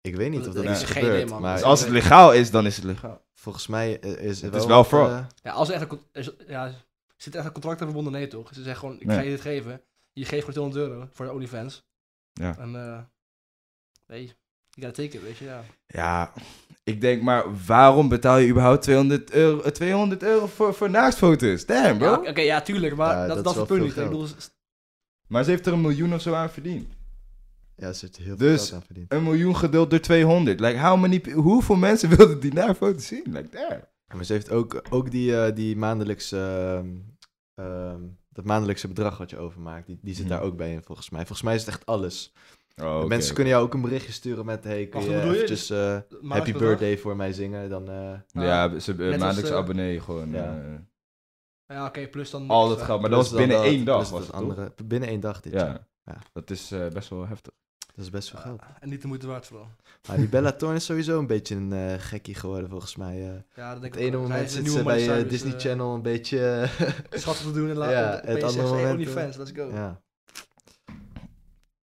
[SPEAKER 1] Ik weet niet of dat
[SPEAKER 2] Ik
[SPEAKER 3] is
[SPEAKER 1] is
[SPEAKER 2] geen
[SPEAKER 1] gebeurd,
[SPEAKER 2] idee, man.
[SPEAKER 1] maar
[SPEAKER 3] Dus als het legaal is, dan is het legaal.
[SPEAKER 1] volgens mij eh, is
[SPEAKER 3] Het is wel fraud.
[SPEAKER 1] eh,
[SPEAKER 2] ja als er echt een, con- is- ja, zit er echt een contract aan verbonden? Nee, toch? Ze zeggen gewoon, ik ga
[SPEAKER 3] Nee.
[SPEAKER 2] je dit geven. Je geeft gewoon 200 euro voor de OnlyFans.
[SPEAKER 3] Ja.
[SPEAKER 2] En, eh nee, je gaat tekenen, weet je, ja.
[SPEAKER 3] Ja, ik denk maar, waarom betaal je überhaupt 200 euro, eh, 200 euro voor, voor naaktfoto's? Damn, bro.
[SPEAKER 2] Ja, Oké, ja, tuurlijk, maar
[SPEAKER 1] Ja,
[SPEAKER 2] dat,
[SPEAKER 1] dat is
[SPEAKER 2] dat is
[SPEAKER 1] wel
[SPEAKER 2] het punt
[SPEAKER 1] veel
[SPEAKER 2] niet. Ik
[SPEAKER 1] geld.
[SPEAKER 2] bedoel, s-
[SPEAKER 3] Maar ze heeft er een miljoen of zo aan verdiend.
[SPEAKER 1] ja, er zit heel veel
[SPEAKER 3] Dus-
[SPEAKER 1] geld aan verdiend.
[SPEAKER 3] Een miljoen gedeeld door 200. Like, how many, pe- hoeveel mensen (laughs) wilden die naaktfoto's zien? Like, damn.
[SPEAKER 1] Maar ze heeft ook, ook die, eh, die maandelijkse, ehm, ehm, dat maandelijkse bedrag wat je overmaakt, die, die zit
[SPEAKER 3] Mhm.
[SPEAKER 1] daar ook bij in volgens mij. Volgens mij is het echt alles.
[SPEAKER 3] Oh, oké.
[SPEAKER 1] Mensen kunnen jou ook een berichtje sturen met, hey, kun
[SPEAKER 2] Wacht,
[SPEAKER 1] je
[SPEAKER 2] wat bedoel je?
[SPEAKER 1] eventjes eh,
[SPEAKER 2] maandelijks
[SPEAKER 1] happy
[SPEAKER 2] bedrag.
[SPEAKER 1] birthday voor mij zingen, dan... eh,
[SPEAKER 3] Ja, ze
[SPEAKER 2] als,
[SPEAKER 3] uh, maandelijks
[SPEAKER 2] eh,
[SPEAKER 3] abonnee gewoon.
[SPEAKER 1] ja.
[SPEAKER 3] eh,
[SPEAKER 2] Ja, oké, plus dan...
[SPEAKER 3] al dat
[SPEAKER 2] extra.
[SPEAKER 3] geld. Maar dat was
[SPEAKER 1] plus dan
[SPEAKER 3] binnen
[SPEAKER 1] dat,
[SPEAKER 3] één dag.
[SPEAKER 1] plus
[SPEAKER 3] Was
[SPEAKER 1] dat
[SPEAKER 3] het, toch?
[SPEAKER 1] andere, binnen één dag dit jaar.
[SPEAKER 3] Ja.
[SPEAKER 1] Ja.
[SPEAKER 3] Dat is eh, best wel heftig.
[SPEAKER 1] Dat is best veel
[SPEAKER 2] Ah,
[SPEAKER 1] geld.
[SPEAKER 2] En niet de moeite waard vooral.
[SPEAKER 1] Maar die Bella Thorne is sowieso een beetje een eh, gekkie geworden volgens mij. eh.
[SPEAKER 2] Ja, dat
[SPEAKER 1] Het
[SPEAKER 2] denk ik ook.
[SPEAKER 1] ene
[SPEAKER 2] Zij
[SPEAKER 1] moment
[SPEAKER 2] is
[SPEAKER 1] zit
[SPEAKER 2] de nieuwe
[SPEAKER 1] ze
[SPEAKER 2] Miley
[SPEAKER 1] bij eh,
[SPEAKER 2] Cyrus,
[SPEAKER 1] Disney
[SPEAKER 2] eh,
[SPEAKER 1] Channel een beetje... (laughs)
[SPEAKER 2] Schattig te doen en
[SPEAKER 1] Ja,
[SPEAKER 2] later
[SPEAKER 1] het
[SPEAKER 2] opeens
[SPEAKER 1] andere
[SPEAKER 2] zegt ze, hey,
[SPEAKER 1] moment,
[SPEAKER 2] OnlyFans, let's go.
[SPEAKER 1] ja.
[SPEAKER 3] Oh,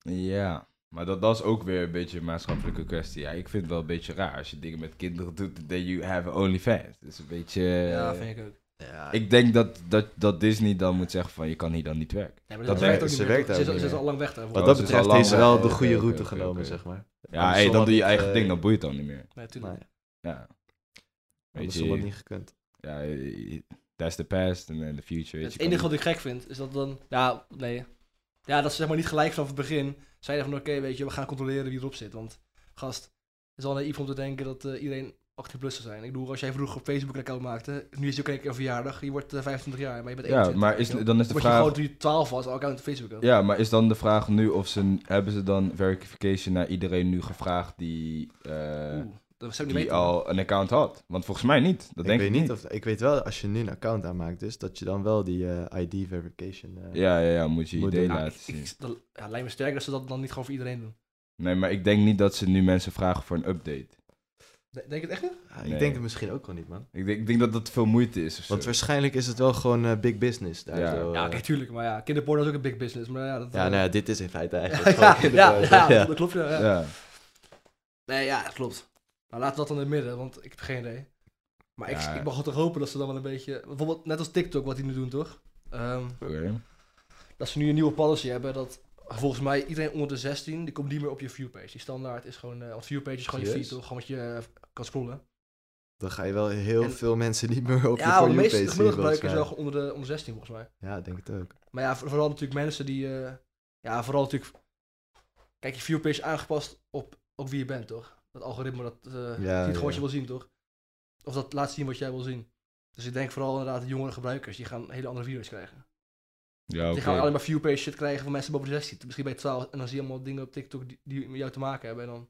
[SPEAKER 3] Ja, maar dat, dat is ook weer een beetje een maatschappelijke kwestie. Ja, ik vind het wel een beetje raar als je dingen met kinderen doet, then you have a OnlyFans. Dat is een beetje...
[SPEAKER 2] Ja,
[SPEAKER 3] eh,
[SPEAKER 2] vind ik ook.
[SPEAKER 1] Ja,
[SPEAKER 3] ik denk dat, dat, dat Disney dan moet zeggen van, je kan hier dan niet werken.
[SPEAKER 2] Nee, maar
[SPEAKER 3] Dat
[SPEAKER 2] dat
[SPEAKER 3] werkt-
[SPEAKER 2] werkt ook niet
[SPEAKER 1] ze
[SPEAKER 2] meer,
[SPEAKER 1] werkt
[SPEAKER 2] toch?
[SPEAKER 1] ook
[SPEAKER 2] Ze is al- ze
[SPEAKER 3] niet
[SPEAKER 2] is
[SPEAKER 3] meer.
[SPEAKER 2] al lang weg daarvoor.
[SPEAKER 1] Wat
[SPEAKER 3] Oh,
[SPEAKER 1] dat
[SPEAKER 3] ze is
[SPEAKER 1] betreft
[SPEAKER 3] al lang
[SPEAKER 1] heeft ze wel
[SPEAKER 3] weg.
[SPEAKER 1] de
[SPEAKER 3] Oké,
[SPEAKER 1] goede
[SPEAKER 3] oké,
[SPEAKER 1] route
[SPEAKER 3] oké,
[SPEAKER 1] genomen,
[SPEAKER 3] oké.
[SPEAKER 1] zeg maar.
[SPEAKER 3] Ja,
[SPEAKER 1] Andersom
[SPEAKER 3] hey, dan
[SPEAKER 1] had
[SPEAKER 3] doe je
[SPEAKER 1] het,
[SPEAKER 3] eigen
[SPEAKER 1] eh,
[SPEAKER 3] ding, dat boeit dan niet meer.
[SPEAKER 2] Nee,
[SPEAKER 1] Nee,
[SPEAKER 2] tuurlijk.
[SPEAKER 3] Ja, weet
[SPEAKER 1] andersom had het
[SPEAKER 3] je,
[SPEAKER 1] niet gekund.
[SPEAKER 3] ja, eh, that's the past and then the future. weet
[SPEAKER 2] Het
[SPEAKER 3] je, kan
[SPEAKER 2] enige wat
[SPEAKER 3] niet-
[SPEAKER 2] ik gek vind, is dat dan... Ja, nee. Ja, dat ze zeg maar niet gelijk vanaf het begin zeiden van... Oké, weet je, we gaan controleren wie erop zit. Want, gast, het is al naïef om te denken dat eh, iedereen 18 plus zou zijn. Ik bedoel, als jij vroeger op Facebook een account maakte... Nu is je ook een keer een verjaardag, je wordt eh, 25 jaar, maar je bent
[SPEAKER 3] Ja,
[SPEAKER 2] 21.
[SPEAKER 3] maar is,
[SPEAKER 2] weet je wel.
[SPEAKER 3] dan is de
[SPEAKER 2] Word je gewoon
[SPEAKER 3] vraag...
[SPEAKER 2] toen je 12 was al account op Facebook had.
[SPEAKER 3] Ja, maar is dan de vraag nu of ze... Hebben ze dan verification naar iedereen nu gevraagd die... eh,
[SPEAKER 2] Oeh, dat zou ik niet
[SPEAKER 3] die
[SPEAKER 2] weten.
[SPEAKER 3] al een account had. Want volgens mij niet.
[SPEAKER 1] ik
[SPEAKER 3] Dat denk
[SPEAKER 1] weet
[SPEAKER 3] ik niet.
[SPEAKER 1] Of, ik weet wel, als je nu een account aanmaakt, dus dat je dan wel die eh, ID verification. eh,
[SPEAKER 3] Ja, ja, ja, moet je
[SPEAKER 1] Moet
[SPEAKER 3] idee
[SPEAKER 1] doen.
[SPEAKER 2] Ja,
[SPEAKER 3] laten
[SPEAKER 2] ik-
[SPEAKER 3] zien.
[SPEAKER 2] ik- dat ja, lijkt me sterk dat ze dat dan niet gewoon voor iedereen doen.
[SPEAKER 3] Nee, maar ik denk niet dat ze nu mensen vragen voor een update.
[SPEAKER 2] De- Denk je het echt niet?
[SPEAKER 1] ah,
[SPEAKER 3] Nee.
[SPEAKER 1] Ik denk het misschien ook wel niet, man.
[SPEAKER 3] Ik denk, ik denk dat dat veel moeite is of zo.
[SPEAKER 1] Want waarschijnlijk is het wel gewoon eh, big business daar.
[SPEAKER 3] Ja.
[SPEAKER 1] zo, eh.
[SPEAKER 2] Ja, oké, tuurlijk. Maar ja, kinderporno is ook een big business. Maar ja, dat...
[SPEAKER 1] ja,
[SPEAKER 2] (laughs)
[SPEAKER 1] nou ja, dit is in feite
[SPEAKER 2] ja,
[SPEAKER 1] eigenlijk gewoon
[SPEAKER 2] ja, ja,
[SPEAKER 1] kinderporno.
[SPEAKER 2] dat- dat klopt. Ja, ja.
[SPEAKER 3] ja.
[SPEAKER 2] Nee, ja, dat klopt. Nou, laten we dat dan in het midden, want ik heb geen idee. Maar
[SPEAKER 3] Ja.
[SPEAKER 2] ik, ik mag toch hopen dat ze dan wel een beetje... Bijvoorbeeld net als TikTok, wat die nu doen, toch? Ehm,
[SPEAKER 3] Oké.
[SPEAKER 2] dat ze nu een nieuwe policy hebben dat... Volgens mij iedereen onder de 16, die komt niet meer op je viewpage. Die standaard is gewoon... eh want viewpage is gewoon je feed,
[SPEAKER 1] Serieus?
[SPEAKER 2] toch? Gewoon wat je eh, kan scrollen.
[SPEAKER 1] Dan ga je wel heel
[SPEAKER 2] En-
[SPEAKER 1] veel mensen niet meer op je
[SPEAKER 2] ja, want
[SPEAKER 1] voor
[SPEAKER 2] de
[SPEAKER 1] you
[SPEAKER 2] meeste
[SPEAKER 1] page zien.
[SPEAKER 2] gemiddelde
[SPEAKER 1] volgens
[SPEAKER 2] gebruikers is
[SPEAKER 1] mij.
[SPEAKER 2] wel gewoon onder de, onder 16, volgens mij.
[SPEAKER 1] Ja, ik denk het ook.
[SPEAKER 2] Maar ja, voor- vooral natuurlijk mensen die... eh, ja, vooral natuurlijk... Kijk, je viewpage is aangepast op, op wie je bent, toch? Dat algoritme, dat eh, ziet
[SPEAKER 1] ja.
[SPEAKER 2] gewoon wat je wil zien, toch? Of dat laat zien wat jij wil zien. Dus ik denk vooral inderdaad de jongere gebruikers, die gaan hele andere video's krijgen. Dus
[SPEAKER 3] Ja,
[SPEAKER 2] Die gaan
[SPEAKER 3] oké.
[SPEAKER 2] alleen maar viewpage shit krijgen van mensen boven de 16. Misschien bij 12 en dan zie je allemaal dingen op TikTok die, die met jou te maken hebben. En dan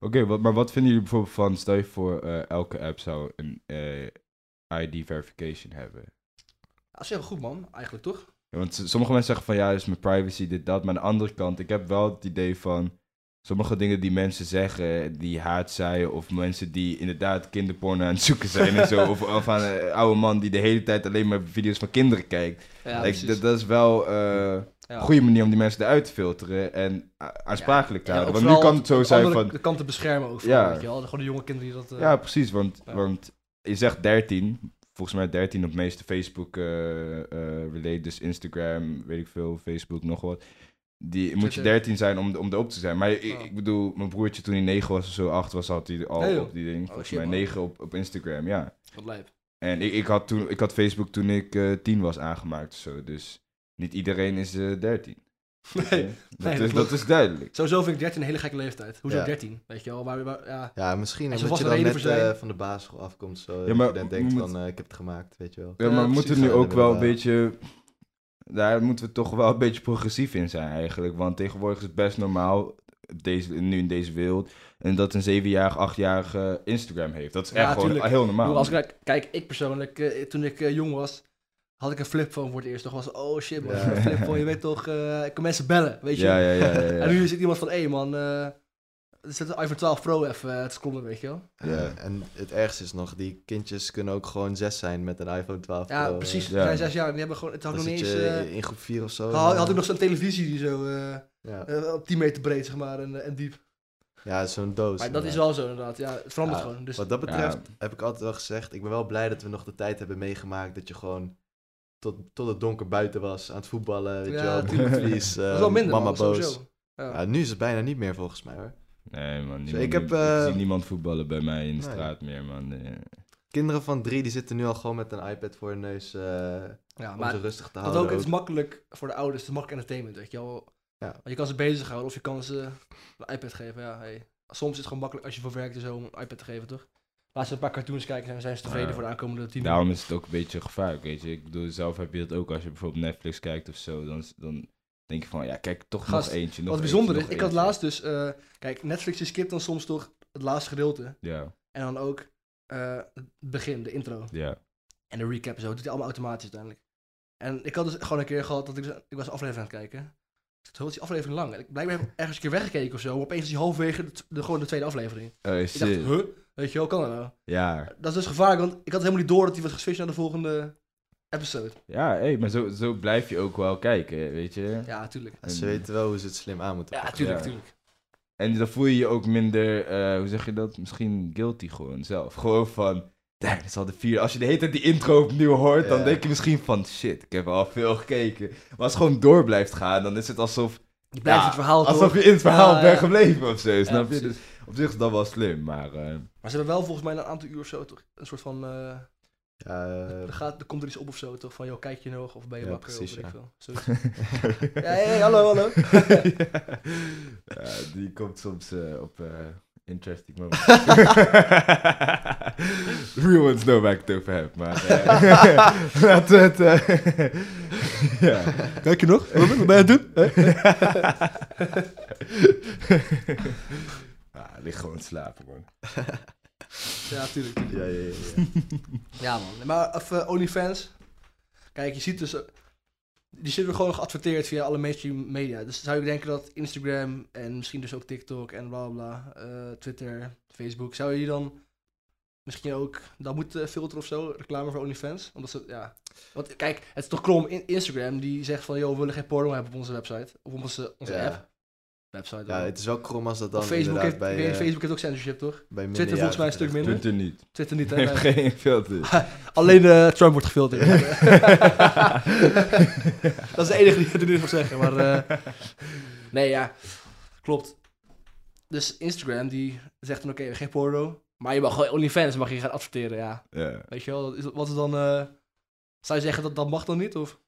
[SPEAKER 3] Oké, wat, maar wat vinden jullie bijvoorbeeld van, stel je voor, eh, elke app zou een eh, ID verification hebben?
[SPEAKER 2] Dat is heel goed, man. Eigenlijk toch?
[SPEAKER 3] Ja, want s- sommige mensen zeggen van ja, is mijn privacy, dit, dat. Maar aan de andere kant, ik heb wel het idee van sommige dingen die mensen zeggen, die haatzaaien of mensen die inderdaad kinderporno aan het zoeken zijn en
[SPEAKER 2] (laughs)
[SPEAKER 3] zo. Of, of aan een oude man die de hele tijd alleen maar video's van kinderen kijkt.
[SPEAKER 2] Ja,
[SPEAKER 3] Like,
[SPEAKER 2] precies.
[SPEAKER 3] dat, dat is wel eh, een
[SPEAKER 2] Ja.
[SPEAKER 3] goede manier om die mensen eruit te filteren en a- aansprakelijk te
[SPEAKER 2] Ja,
[SPEAKER 3] houden.
[SPEAKER 2] ook
[SPEAKER 3] want nu
[SPEAKER 2] vooral
[SPEAKER 3] kan het zo
[SPEAKER 2] de
[SPEAKER 3] zijn
[SPEAKER 2] andere
[SPEAKER 3] van...
[SPEAKER 2] k- kant te beschermen ook.
[SPEAKER 3] Ja.
[SPEAKER 2] Ja. Weet je wel? Gewoon de jonge kinderen die dat... eh,
[SPEAKER 3] Ja, precies, want,
[SPEAKER 2] Ja.
[SPEAKER 3] want je zegt 13. Volgens mij 13 op de meeste Facebook eh eh, relate, dus Instagram, weet ik veel, Facebook, nog wat. Die, moet je
[SPEAKER 2] Twitter.
[SPEAKER 3] 13 zijn om, om erop te zijn. Maar ik,
[SPEAKER 2] Oh.
[SPEAKER 3] ik bedoel, mijn broertje toen hij 9 was of zo, 8 was, had hij al
[SPEAKER 2] Nee, joh. Oh,
[SPEAKER 3] op die ding. Volgens
[SPEAKER 2] shit,
[SPEAKER 3] mij
[SPEAKER 2] man.
[SPEAKER 3] 9 op, op Instagram, ja.
[SPEAKER 2] Wat lijp.
[SPEAKER 3] En ik, ik, had toen, ik had Facebook toen ik eh 10 was aangemaakt of zo. Dus niet iedereen is eh 13.
[SPEAKER 2] (laughs) Nee.
[SPEAKER 3] dat,
[SPEAKER 2] dat
[SPEAKER 3] is, dat
[SPEAKER 2] klopt.
[SPEAKER 3] is duidelijk.
[SPEAKER 2] Sowieso vind ik 13 een hele gekke leeftijd. Hoezo
[SPEAKER 1] Ja.
[SPEAKER 2] 13? Weet je wel? Waar, waar, ja.
[SPEAKER 1] Ja, misschien
[SPEAKER 2] Er zal
[SPEAKER 1] omdat
[SPEAKER 2] vast
[SPEAKER 1] je
[SPEAKER 2] een
[SPEAKER 1] dan
[SPEAKER 2] reden
[SPEAKER 1] net
[SPEAKER 2] voor zijn.
[SPEAKER 1] eh, van de basisschool afkomt. Zo,
[SPEAKER 3] Ja,
[SPEAKER 1] dat
[SPEAKER 3] maar
[SPEAKER 1] je dan
[SPEAKER 3] we
[SPEAKER 1] denkt
[SPEAKER 3] moeten-
[SPEAKER 1] van, eh, ik heb het gemaakt, weet je wel.
[SPEAKER 3] Ja, maar we
[SPEAKER 2] precies.
[SPEAKER 3] moeten nu
[SPEAKER 1] Ja,
[SPEAKER 3] ook wel een
[SPEAKER 1] inderdaad.
[SPEAKER 3] beetje. Daar moeten we toch wel een beetje progressief in zijn eigenlijk. Want tegenwoordig is het best normaal, op deze, nu in deze wereld, en dat een 7-jarige, 8-jarige Instagram heeft. Dat is
[SPEAKER 2] Ja,
[SPEAKER 3] echt gewoon
[SPEAKER 2] tuurlijk.
[SPEAKER 3] heel
[SPEAKER 2] Ik
[SPEAKER 3] normaal.
[SPEAKER 2] bedoel, Als ik, naar- kijk, ik persoonlijk, eh, toen ik eh, jong was, had ik een flipphone voor het eerst. Toch was oh shit man,
[SPEAKER 1] Ja.
[SPEAKER 2] een flipphone, je weet toch, eh, ik kan mensen bellen, weet je.
[SPEAKER 3] ja, ja, ja,
[SPEAKER 2] (laughs)
[SPEAKER 3] ja, ja.
[SPEAKER 2] En nu zit iemand van, hé hey, man, eh zet de iPhone 12 Pro even eh, te scrollen, weet je wel.
[SPEAKER 3] Ja.
[SPEAKER 1] Eh, en het ergste is nog, die kindjes kunnen ook gewoon zes zijn met een iPhone 12
[SPEAKER 2] Ja,
[SPEAKER 1] Pro, eh.
[SPEAKER 2] precies,
[SPEAKER 3] ja.
[SPEAKER 2] ze zijn zes jaar, die hebben gewoon, het had
[SPEAKER 1] Dan
[SPEAKER 2] nog niet
[SPEAKER 1] zit
[SPEAKER 2] eens...
[SPEAKER 1] je Oh.
[SPEAKER 2] eh,
[SPEAKER 1] in groep 4 of zo. eh.
[SPEAKER 2] had, had ik nog zo'n televisie die zo eh,
[SPEAKER 1] Ja,
[SPEAKER 2] eh, op 10 meter breed, zeg maar, en, eh, en diep.
[SPEAKER 1] ja zo'n doos.
[SPEAKER 2] Maar dat is
[SPEAKER 1] inderdaad.
[SPEAKER 2] wel zo inderdaad, ja, het verandert
[SPEAKER 1] Ja,
[SPEAKER 2] gewoon. Dus,
[SPEAKER 1] Wat dat
[SPEAKER 3] Ja.
[SPEAKER 1] betreft heb ik altijd wel gezegd, ik ben wel blij dat we nog de tijd hebben meegemaakt dat je gewoon tot, tot het donker buiten was, aan het voetballen, weet
[SPEAKER 2] Ja,
[SPEAKER 1] je wel,
[SPEAKER 2] tuurlijk.
[SPEAKER 1] teamvlies,
[SPEAKER 2] (laughs) dat is wel minder,
[SPEAKER 1] eh, mama
[SPEAKER 2] man,
[SPEAKER 1] boos.
[SPEAKER 2] sowieso. Ja.
[SPEAKER 1] Ja, nu is het bijna niet meer volgens mij hoor.
[SPEAKER 3] Nee, man.
[SPEAKER 1] Dus
[SPEAKER 3] Niemand,
[SPEAKER 1] ik heb,
[SPEAKER 3] ik
[SPEAKER 1] eh,
[SPEAKER 3] zie niemand voetballen bij mij in de
[SPEAKER 1] nee.
[SPEAKER 3] straat meer, man. Eh, Nee.
[SPEAKER 1] Kinderen van drie die zitten nu al gewoon met een iPad voor hun neus eh,
[SPEAKER 2] Ja,
[SPEAKER 1] om
[SPEAKER 2] maar
[SPEAKER 1] ze rustig te
[SPEAKER 2] Dat
[SPEAKER 1] houden.
[SPEAKER 2] ook, het is
[SPEAKER 1] ook.
[SPEAKER 2] makkelijk voor de ouders, het is makkelijk entertainment, weet je wel.
[SPEAKER 1] Ja.
[SPEAKER 2] Want je kan ze bezighouden of je kan ze een iPad geven, ja, hey. Soms is het gewoon makkelijk als je voor werkt en zo om een iPad te geven, toch? Laat ze een paar cartoons kijken en zijn ze tevreden
[SPEAKER 3] Ja.
[SPEAKER 2] voor de aankomende tien
[SPEAKER 3] Daarom is het ook een beetje gevaarlijk, weet je. Ik bedoel, zelf heb je dat ook als je bijvoorbeeld Netflix kijkt of zo. Dan, dan denk je van, ja, kijk, toch
[SPEAKER 2] Gast,
[SPEAKER 3] nog eentje. Nog
[SPEAKER 2] Wat
[SPEAKER 3] eentje,
[SPEAKER 2] bijzonder
[SPEAKER 3] nog
[SPEAKER 2] is, ik had
[SPEAKER 3] eentje.
[SPEAKER 2] laatst dus, eh, kijk, Netflix je skipt dan soms toch het laatste gedeelte
[SPEAKER 3] Ja,
[SPEAKER 2] en dan ook eh, het begin, de intro
[SPEAKER 3] ja.
[SPEAKER 2] en de recap en zo, dat doet hij allemaal automatisch uiteindelijk. En ik had dus gewoon een keer gehad dat ik, ik was een aflevering aan het kijken. Toen was die aflevering lang. En ik blijkbaar heb ik ergens een keer weggekeken of zo. Maar opeens is die halverwege de, de- gewoon de tweede aflevering.
[SPEAKER 3] Oh,
[SPEAKER 2] Ik dacht,
[SPEAKER 3] shit.
[SPEAKER 2] huh? Weet je wel, kan dat nou?
[SPEAKER 3] Ja.
[SPEAKER 2] Dat is dus gevaarlijk, want ik had helemaal niet door dat hij was geswitcht naar de volgende episode.
[SPEAKER 3] Ja, hey, maar zo, zo blijf je ook wel kijken, weet je.
[SPEAKER 2] Ja, tuurlijk.
[SPEAKER 1] Ze
[SPEAKER 3] Mm.
[SPEAKER 1] weten wel hoe ze het slim aan moeten
[SPEAKER 2] Ja,
[SPEAKER 1] pakken.
[SPEAKER 2] tuurlijk,
[SPEAKER 3] Ja.
[SPEAKER 2] tuurlijk.
[SPEAKER 3] En dan voel je je ook minder, eh, hoe zeg je dat? Misschien guilty gewoon zelf. Gewoon van, damn, dat is al de vier. Als je de hele tijd die intro opnieuw hoort, dan
[SPEAKER 1] Ja.
[SPEAKER 3] denk je misschien van, shit, ik heb al veel gekeken. Maar als het gewoon door blijft gaan, dan is het alsof,
[SPEAKER 2] Je blijft
[SPEAKER 3] Ja,
[SPEAKER 2] het verhaal
[SPEAKER 3] alsof
[SPEAKER 2] door.
[SPEAKER 3] je in het verhaal
[SPEAKER 2] Ja,
[SPEAKER 3] bent
[SPEAKER 2] ja.
[SPEAKER 3] gebleven of zo,
[SPEAKER 2] Ja,
[SPEAKER 3] snap je? Dus
[SPEAKER 2] precies.
[SPEAKER 3] op zich is dat wel slim, maar... eh,
[SPEAKER 2] Maar ze hebben wel volgens mij na een aantal uur of zo toch een soort van, eh,
[SPEAKER 1] Ja, eh,
[SPEAKER 2] er, gaat, er komt er iets op of zo toch, van joh, kijk je nog of ben je
[SPEAKER 1] Ja,
[SPEAKER 2] wakker
[SPEAKER 1] precies,
[SPEAKER 2] of weet
[SPEAKER 1] ja.
[SPEAKER 2] ik veel. Zoiets. ja, hey, hallo, hallo.
[SPEAKER 3] ja, die komt soms eh, op eh, interesting moments.
[SPEAKER 2] (laughs)
[SPEAKER 3] Real ones know waar ik het over heb, maar...
[SPEAKER 2] (laughs)
[SPEAKER 3] eh, laten we het... eh, (laughs) ja.
[SPEAKER 2] Kijk je nog? Wat ben je doen?
[SPEAKER 3] (laughs) ah, lig gewoon te slapen, man.
[SPEAKER 2] Ja, tuurlijk. tuurlijk.
[SPEAKER 1] ja, ja,
[SPEAKER 2] (laughs)
[SPEAKER 1] ja, ja.
[SPEAKER 2] Ja man, maar even OnlyFans. Kijk, je ziet dus... eh, Die zitten gewoon geadverteerd via alle mainstream media. Dus zou je denken dat Instagram en misschien dus ook TikTok en bla bla, bla, eh, Twitter, Facebook, zou je die dan misschien ook dat moeten filteren of zo, reclame voor OnlyFans? Omdat ze, ja. Want kijk, het is toch krom, in Instagram die zegt van, joh, we willen geen porno hebben op onze website. Of op onze, onze
[SPEAKER 1] Ja.
[SPEAKER 2] app. Website.
[SPEAKER 1] Ja,
[SPEAKER 2] hoor.
[SPEAKER 1] het is wel krom als dat dan
[SPEAKER 2] Of Facebook,
[SPEAKER 1] inderdaad
[SPEAKER 2] heeft,
[SPEAKER 1] bij,
[SPEAKER 2] ik weet,
[SPEAKER 1] eh,
[SPEAKER 2] Facebook heeft ook censorship, toch?
[SPEAKER 1] bij
[SPEAKER 2] Twitter volgens mij een stuk
[SPEAKER 1] minderjarigen
[SPEAKER 2] minder.
[SPEAKER 3] Twitter niet.
[SPEAKER 2] (laughs)
[SPEAKER 1] (laughs)
[SPEAKER 2] Twitter niet, hè?
[SPEAKER 3] Heeft
[SPEAKER 2] Nee.
[SPEAKER 3] geen filter.
[SPEAKER 2] Alleen eh, Trump wordt gefilterd.
[SPEAKER 1] (laughs)
[SPEAKER 2] (laughs) dat is de enige die ik er nu nog zeggen. Maar, eh, nee, ja. Klopt. Dus Instagram die zegt dan oké, geen porno. Maar je mag gewoon OnlyFans mag je gaan adverteren, ja.
[SPEAKER 3] Ja.
[SPEAKER 2] Weet je wel, dat is, wat is dan... eh, zou je zeggen dat dat mag dan niet? Of?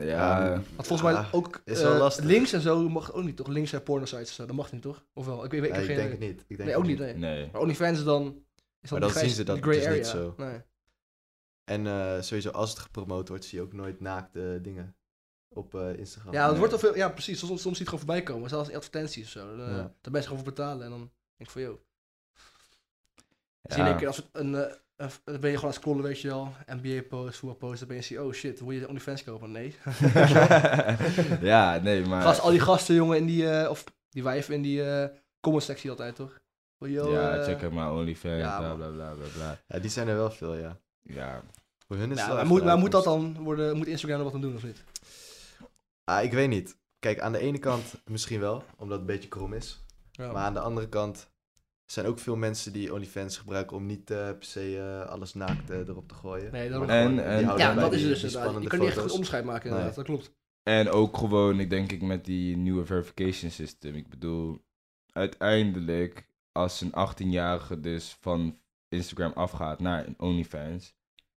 [SPEAKER 3] Ja,
[SPEAKER 2] Want volgens
[SPEAKER 1] Ja, Ah,
[SPEAKER 2] mij ook
[SPEAKER 1] is wel
[SPEAKER 2] eh,
[SPEAKER 1] lastig.
[SPEAKER 2] links en zo mag ook niet, toch? Links zijn pornosites of zo, dat mag niet, toch? Of wel? Ik, weet,
[SPEAKER 1] Nee,
[SPEAKER 2] ik, heb
[SPEAKER 1] ik
[SPEAKER 2] geen,
[SPEAKER 1] denk het niet. Ik denk
[SPEAKER 2] Nee,
[SPEAKER 1] het
[SPEAKER 2] ook niet, nee.
[SPEAKER 3] nee.
[SPEAKER 2] Maar OnlyFans is dan... Is
[SPEAKER 1] Maar
[SPEAKER 2] die
[SPEAKER 1] dan
[SPEAKER 2] grijs-
[SPEAKER 1] zien ze dat
[SPEAKER 2] die grey
[SPEAKER 1] dus niet
[SPEAKER 2] area.
[SPEAKER 1] zo.
[SPEAKER 2] Nee.
[SPEAKER 1] En eh, sowieso, als het gepromoot wordt, zie je ook nooit naakte dingen. op eh, Instagram.
[SPEAKER 2] Ja, het
[SPEAKER 3] nee.
[SPEAKER 2] wordt al veel, ja precies. Soms, soms zie je het gewoon voorbij komen. Zelfs in advertenties of zo. Dan, eh,
[SPEAKER 1] Ja.
[SPEAKER 2] Dat mensen gewoon voor betalen. En dan denk ik van, joh.
[SPEAKER 3] Ja.
[SPEAKER 2] Zie je in één keer als het een, eh, een- dan ben je gewoon aan het scrollen, weet je wel. NBA-post, voetbalpost. Dan ben je zie, oh shit, moet je OnlyFans kopen? Nee.
[SPEAKER 3] (laughs) ja, nee, maar...
[SPEAKER 2] Gast, al die gasten, jongen, in die, eh, of die wijf in die eh comment-sectie altijd, toch? Van, joh,
[SPEAKER 3] ja,
[SPEAKER 2] eh,
[SPEAKER 3] check out my OnlyFans,
[SPEAKER 2] ja,
[SPEAKER 3] bla,
[SPEAKER 2] man.
[SPEAKER 3] bla, bla, bla, bla.
[SPEAKER 1] Ja, die zijn er wel veel, ja.
[SPEAKER 3] Ja,
[SPEAKER 1] Voor hun is het
[SPEAKER 2] nou,
[SPEAKER 1] wel
[SPEAKER 2] maar
[SPEAKER 1] echt
[SPEAKER 2] moet,
[SPEAKER 1] een
[SPEAKER 2] maar moet dat
[SPEAKER 1] uitkomst.
[SPEAKER 2] dan worden, moet Instagram er wat aan doen of niet?
[SPEAKER 1] Ah, ik weet niet. Kijk, aan de ene kant misschien wel, omdat het een beetje krom is.
[SPEAKER 2] Ja.
[SPEAKER 1] Maar nou, aan de andere kant zijn ook veel mensen die OnlyFans gebruiken om niet eh, per se eh, alles naakt eh, erop te gooien.
[SPEAKER 2] Nee, daarom.
[SPEAKER 1] Maar gewoon, die
[SPEAKER 3] En- en-
[SPEAKER 1] houden
[SPEAKER 2] ja,
[SPEAKER 1] bij
[SPEAKER 2] dat is
[SPEAKER 1] die-
[SPEAKER 2] het
[SPEAKER 1] die
[SPEAKER 2] dus. inderdaad. Je
[SPEAKER 1] spannende
[SPEAKER 2] kan niet echt goed
[SPEAKER 1] foto's.
[SPEAKER 2] onderscheid maken, inderdaad. Dat klopt.
[SPEAKER 3] En ook gewoon, ik denk ik met die nieuwe verification system. Ik bedoel, uiteindelijk als een 18-jarige dus van Instagram afgaat naar een OnlyFans,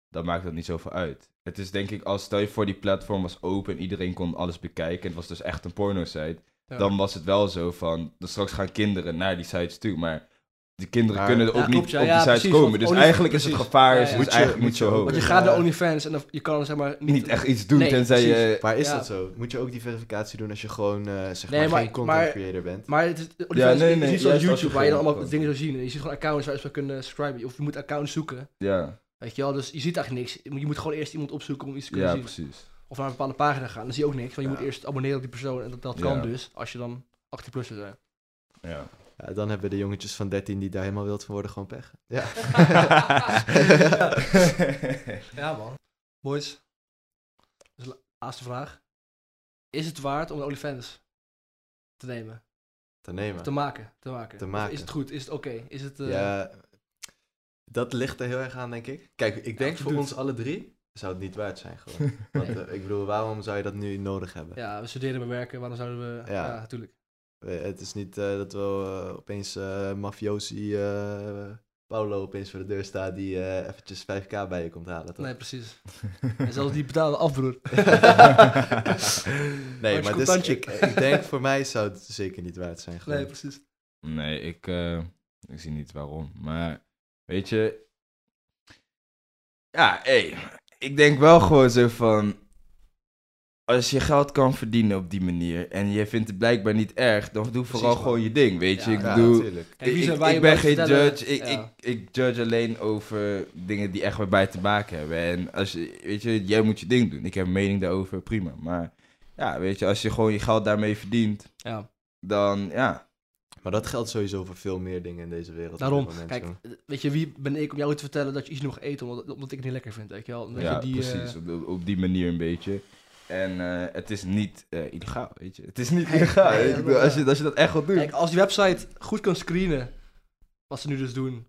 [SPEAKER 3] dan maakt dat niet zoveel uit. Het is denk ik, als stel je voor die platform was open en iedereen kon alles bekijken, en het was dus echt een porno site,
[SPEAKER 2] Ja.
[SPEAKER 3] dan was het wel zo van, dan straks gaan kinderen naar die sites toe, maar die kinderen
[SPEAKER 1] Maar-
[SPEAKER 3] kunnen ook
[SPEAKER 2] Ja,
[SPEAKER 3] niet
[SPEAKER 2] klopt, ja,
[SPEAKER 3] op die
[SPEAKER 2] ja,
[SPEAKER 3] sites
[SPEAKER 2] precies,
[SPEAKER 3] komen.
[SPEAKER 2] want
[SPEAKER 3] Dus
[SPEAKER 2] Onlyfans-
[SPEAKER 3] eigenlijk is het
[SPEAKER 2] precies.
[SPEAKER 3] gevaar
[SPEAKER 2] Ja,
[SPEAKER 3] is
[SPEAKER 2] ja.
[SPEAKER 3] dus
[SPEAKER 1] Moet je-
[SPEAKER 3] eigenlijk
[SPEAKER 1] moet
[SPEAKER 3] niet
[SPEAKER 1] je
[SPEAKER 3] zo
[SPEAKER 1] ook-
[SPEAKER 3] hoog.
[SPEAKER 2] Want je
[SPEAKER 1] Ja.
[SPEAKER 2] gaat naar OnlyFans en dan, je kan dan zeg maar niet,
[SPEAKER 3] Niet echt iets doen,
[SPEAKER 2] Nee,
[SPEAKER 3] tenzij je...
[SPEAKER 1] Maar is
[SPEAKER 2] Ja.
[SPEAKER 1] dat zo? Moet je ook die verificatie doen als je gewoon eh, zeg
[SPEAKER 2] Nee,
[SPEAKER 1] maar,
[SPEAKER 2] maar-
[SPEAKER 1] geen content
[SPEAKER 2] maar-
[SPEAKER 1] creator bent?
[SPEAKER 2] Maar het is, OnlyFans
[SPEAKER 3] nee,
[SPEAKER 2] is
[SPEAKER 3] nee,
[SPEAKER 2] niet
[SPEAKER 3] juist
[SPEAKER 2] zoals
[SPEAKER 3] als je
[SPEAKER 2] YouTube waar je dan
[SPEAKER 3] gewoon-
[SPEAKER 2] allemaal dingen zo zien. En je ziet gewoon accounts waar je zo kunnen subscriben. Of je moet accounts zoeken,
[SPEAKER 3] Ja,
[SPEAKER 2] weet je wel. Dus je ziet eigenlijk niks. Je moet- je moet gewoon eerst iemand opzoeken om iets te kunnen
[SPEAKER 3] ja,
[SPEAKER 2] zien.
[SPEAKER 3] precies.
[SPEAKER 2] Of naar een bepaalde pagina gaan, dan zie je ook niks. Want je
[SPEAKER 1] Ja.
[SPEAKER 2] moet eerst abonneren op die persoon. En dat, dat
[SPEAKER 3] Ja.
[SPEAKER 2] kan dus, als je dan 18 plus bent.
[SPEAKER 3] Ja.
[SPEAKER 1] Ja, dan hebben de jongetjes van 13 die daar helemaal wild van worden gewoon pech.
[SPEAKER 2] (laughs)
[SPEAKER 1] Ja.
[SPEAKER 2] Ja, man. Boys. Dus la- laatste vraag. Is het waard om een OnlyFans te nemen?
[SPEAKER 1] Te nemen.
[SPEAKER 2] Te maken? Te maken.
[SPEAKER 1] Te
[SPEAKER 2] Of
[SPEAKER 1] maken.
[SPEAKER 2] Is het goed? Is het oké? Is het... eh,
[SPEAKER 1] Ja, dat ligt er heel erg aan, denk ik. Kijk, ik denk
[SPEAKER 2] je
[SPEAKER 1] voor
[SPEAKER 2] doet.
[SPEAKER 1] ons alle drie zou het niet waard zijn gewoon. Want
[SPEAKER 2] (laughs) Nee.
[SPEAKER 1] eh, ik bedoel, waarom zou je dat nu nodig hebben?
[SPEAKER 2] ja, we studeren, we werken. Waarom zouden we... Ja,
[SPEAKER 1] Ja.
[SPEAKER 2] natuurlijk.
[SPEAKER 1] Eh, Het is niet eh, dat we eh, opeens eh mafiosi eh, Paolo opeens voor de deur staat die eh, eventjes 5k bij je komt halen, toch? (laughs)
[SPEAKER 2] Nee,
[SPEAKER 3] (laughs)
[SPEAKER 2] precies. En zelfs die betalen af, broer.
[SPEAKER 1] nee maar dus,
[SPEAKER 2] contantje.
[SPEAKER 1] ik, ik denk voor mij zou het zeker niet waard zijn gewoon.
[SPEAKER 2] Nee, precies.
[SPEAKER 3] (laughs) nee, ik, eh, ik zie niet waarom. Maar weet je. Ja, hé. ik denk wel gewoon zo van. Als je geld kan verdienen op die manier en je vindt het blijkbaar niet erg, dan doe vooral
[SPEAKER 2] man.
[SPEAKER 3] gewoon je ding, weet je.
[SPEAKER 2] Ja,
[SPEAKER 3] ik
[SPEAKER 1] ja,
[SPEAKER 3] bedoel,
[SPEAKER 1] natuurlijk.
[SPEAKER 2] Kijk, wie
[SPEAKER 3] ik,
[SPEAKER 2] zijn
[SPEAKER 3] ik-
[SPEAKER 2] wij
[SPEAKER 3] ik
[SPEAKER 2] om
[SPEAKER 3] ben
[SPEAKER 2] dat te
[SPEAKER 3] geen
[SPEAKER 2] vertellen?
[SPEAKER 3] judge. Ik,
[SPEAKER 2] Ja.
[SPEAKER 3] ik, ik judge alleen over dingen die echt bij te maken hebben. En als je, weet je, jij moet je ding doen. Ik heb een mening daarover, prima. Maar ja, weet je, als je gewoon je geld daarmee verdient,
[SPEAKER 2] Ja.
[SPEAKER 3] dan ja.
[SPEAKER 1] Maar dat geldt sowieso voor veel meer dingen in deze wereld. op dit
[SPEAKER 2] Daarom,
[SPEAKER 1] moment,
[SPEAKER 2] kijk,
[SPEAKER 1] jongen.
[SPEAKER 2] weet je, wie ben ik om jou te vertellen dat je iets niet mag eten omdat, omdat ik het niet lekker vind, weet je wel? Dat
[SPEAKER 3] ja,
[SPEAKER 2] je die, eh,
[SPEAKER 3] precies. Op, op die manier een beetje. En eh, het is niet eh, illegaal, weet je. Het is niet illegaal.
[SPEAKER 2] nee,
[SPEAKER 3] weet je.
[SPEAKER 2] dat
[SPEAKER 3] Ik bedoel,
[SPEAKER 2] wel,
[SPEAKER 3] als,
[SPEAKER 2] ja.
[SPEAKER 3] je, als je dat echt wilt doen.
[SPEAKER 2] eh, Kijk, als die website goed kan screenen, wat ze nu dus doen,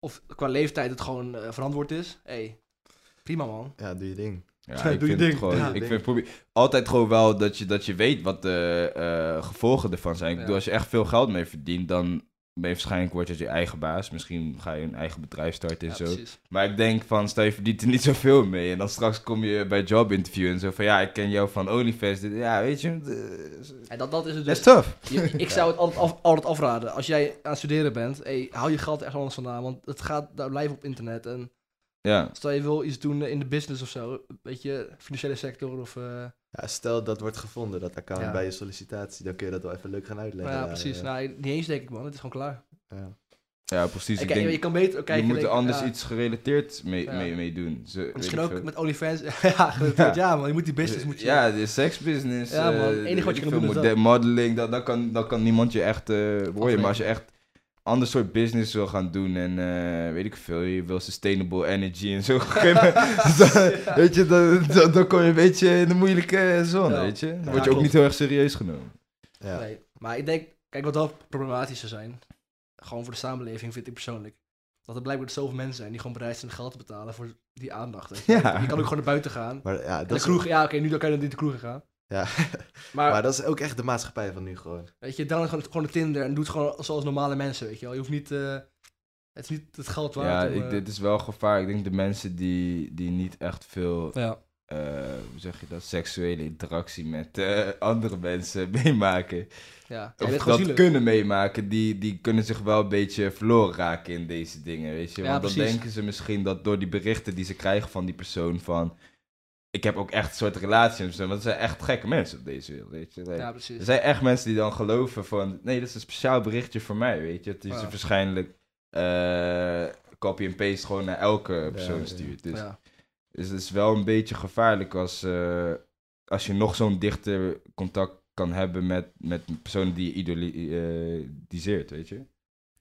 [SPEAKER 2] of qua leeftijd het gewoon eh, verantwoord is, hé, hey, prima man.
[SPEAKER 1] Ja, doe je ding.
[SPEAKER 3] Ja,
[SPEAKER 2] Doe
[SPEAKER 3] ik
[SPEAKER 2] je
[SPEAKER 3] vind
[SPEAKER 2] ding.
[SPEAKER 3] het gewoon,
[SPEAKER 1] Ja.
[SPEAKER 3] ik vind, probeer, altijd gewoon wel dat je, dat je weet wat de eh, gevolgen ervan zijn. Ik
[SPEAKER 2] Ja.
[SPEAKER 3] bedoel, als je echt veel geld mee verdient, dan ben je waarschijnlijk word je je eigen baas. Misschien ga je een eigen bedrijf starten en
[SPEAKER 2] Ja,
[SPEAKER 3] zo.
[SPEAKER 2] precies.
[SPEAKER 3] Maar ik denk van, stel je verdient er niet zoveel mee. En dan straks kom je bij jobinterview en zo van, ja, ik ken jou van OnlyFans. Dit- Ja, weet je, eh,
[SPEAKER 2] En dat, dat is het
[SPEAKER 3] that's
[SPEAKER 2] dus.
[SPEAKER 3] tough.
[SPEAKER 2] Je- (laughs) ik zou het altijd, af, altijd afraden. Als jij aan het studeren bent, hey, hou je geld echt anders vandaan, want het gaat daar blijven op internet. En
[SPEAKER 3] Ja,
[SPEAKER 2] stel je wil iets doen eh, in de business of zo, weet je, financiële sector of... eh,
[SPEAKER 1] Ja, stel dat wordt gevonden, dat account
[SPEAKER 2] Ja.
[SPEAKER 1] bij je sollicitatie, dan kun je dat wel even leuk gaan
[SPEAKER 2] nou
[SPEAKER 1] uitleggen.
[SPEAKER 2] ja,
[SPEAKER 1] daar,
[SPEAKER 2] precies.
[SPEAKER 1] eh,
[SPEAKER 2] Nou, niet eens denk ik man, het is gewoon klaar.
[SPEAKER 1] ja.
[SPEAKER 3] ja precies.
[SPEAKER 2] Kijk,
[SPEAKER 3] ik denk,
[SPEAKER 2] je kan beter
[SPEAKER 3] je
[SPEAKER 2] kijken...
[SPEAKER 3] moet er
[SPEAKER 2] denk ik, eh,
[SPEAKER 3] anders
[SPEAKER 2] ja.
[SPEAKER 3] iets gerelateerd mee,
[SPEAKER 2] Ja.
[SPEAKER 3] mee, mee doen. Zo, weet
[SPEAKER 2] Misschien
[SPEAKER 3] ik
[SPEAKER 2] ook
[SPEAKER 3] veel.
[SPEAKER 2] met OnlyFans. (laughs) ja, ja. ja, man, je moet die business moet je...
[SPEAKER 3] Eh, Ja, de seksbusiness.
[SPEAKER 2] Ja, man.
[SPEAKER 3] eh,
[SPEAKER 2] Het enige
[SPEAKER 3] weet
[SPEAKER 2] wat je kan
[SPEAKER 3] ik veel,
[SPEAKER 2] doen is
[SPEAKER 3] mode- Modeling, dat, dat, kan, dat kan niemand je echt eh beoordelen. Maar als je echt ander soort business wil gaan doen en eh, weet ik veel, je wil sustainable energy en zo. (laughs) op een gegeven moment,
[SPEAKER 2] (laughs)
[SPEAKER 3] dan, weet je, dan, dan, dan kom je een beetje in de moeilijke eh, zone,
[SPEAKER 2] Ja.
[SPEAKER 3] weet je. Dan
[SPEAKER 1] Ja,
[SPEAKER 3] word je ook
[SPEAKER 2] klopt.
[SPEAKER 3] niet heel erg serieus genomen.
[SPEAKER 1] Ja.
[SPEAKER 2] (laughs)
[SPEAKER 3] (laughs)
[SPEAKER 2] Nee, maar ik denk, kijk wat wel problematisch zou zijn, gewoon voor de samenleving vind ik persoonlijk, dat er blijkbaar dus zoveel mensen zijn die gewoon bereid zijn geld te betalen voor die aandacht. weet je.
[SPEAKER 3] Ja.
[SPEAKER 2] Je kan ook gewoon naar buiten
[SPEAKER 3] (laughs)
[SPEAKER 2] gaan.
[SPEAKER 1] Maar ja, dat
[SPEAKER 2] De
[SPEAKER 1] is-
[SPEAKER 2] kroeg, ja oké, nu dan kan je niet de kroeg gaan.
[SPEAKER 1] Ja.
[SPEAKER 2] (laughs) Maar,
[SPEAKER 1] maar dat is ook echt de maatschappij van nu gewoon.
[SPEAKER 2] weet je, download gewoon, gewoon de Tinder en doe het gewoon zoals normale mensen, weet je wel. Je hoeft niet, eh, het is niet het geld
[SPEAKER 3] Ja,
[SPEAKER 2] waard. om,
[SPEAKER 3] ik,
[SPEAKER 2] eh,
[SPEAKER 3] dit is wel gevaar. Ik denk de mensen die, die niet echt veel
[SPEAKER 2] ja.
[SPEAKER 3] eh, hoe zeg je dat, seksuele interactie met eh, andere mensen (laughs) meemaken.
[SPEAKER 2] Ja, ja,
[SPEAKER 3] of
[SPEAKER 2] je bent
[SPEAKER 3] dat
[SPEAKER 2] gewoon zielig.
[SPEAKER 3] kunnen meemaken, die, die kunnen zich wel een beetje verloren raken in deze dingen, weet je.
[SPEAKER 2] Ja,
[SPEAKER 3] Want dan
[SPEAKER 2] precies.
[SPEAKER 3] denken ze misschien dat door die berichten die ze krijgen van die persoon van... ik heb ook echt een soort relatie met ze, want ze zijn echt gekke mensen op deze wereld, weet je.
[SPEAKER 2] Ja,
[SPEAKER 3] Er
[SPEAKER 2] precies.
[SPEAKER 3] zijn echt mensen die dan geloven van, nee, dit is een speciaal berichtje voor mij, weet je. Het is
[SPEAKER 2] Ja.
[SPEAKER 3] waarschijnlijk eh, copy en paste gewoon naar elke persoon
[SPEAKER 1] ja.
[SPEAKER 3] stuurt. Dus,
[SPEAKER 2] Ja.
[SPEAKER 3] dus het is wel een beetje gevaarlijk als, eh, als je nog zo'n dichter contact kan hebben met, met personen die je idoliseert, weet je.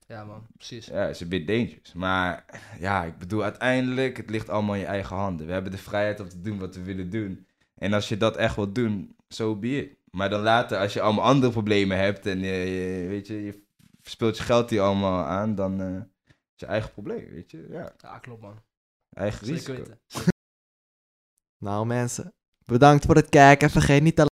[SPEAKER 2] ja, man, precies.
[SPEAKER 3] Ja, is een bit dangerous. Maar ja, ik bedoel, uiteindelijk, het ligt allemaal in je eigen handen. We hebben de vrijheid om te doen wat we willen doen. En als je dat echt wilt doen, so be it. Maar dan later, als je allemaal andere problemen hebt en je, je- weet je, je speelt je geld hier allemaal aan, dan eh, is je eigen probleem, weet je. Ja,
[SPEAKER 2] Ja, klopt, man.
[SPEAKER 3] eigen
[SPEAKER 2] Zeker
[SPEAKER 3] risico.
[SPEAKER 2] weten.
[SPEAKER 1] Nou mensen, bedankt voor het kijken. Vergeet niet te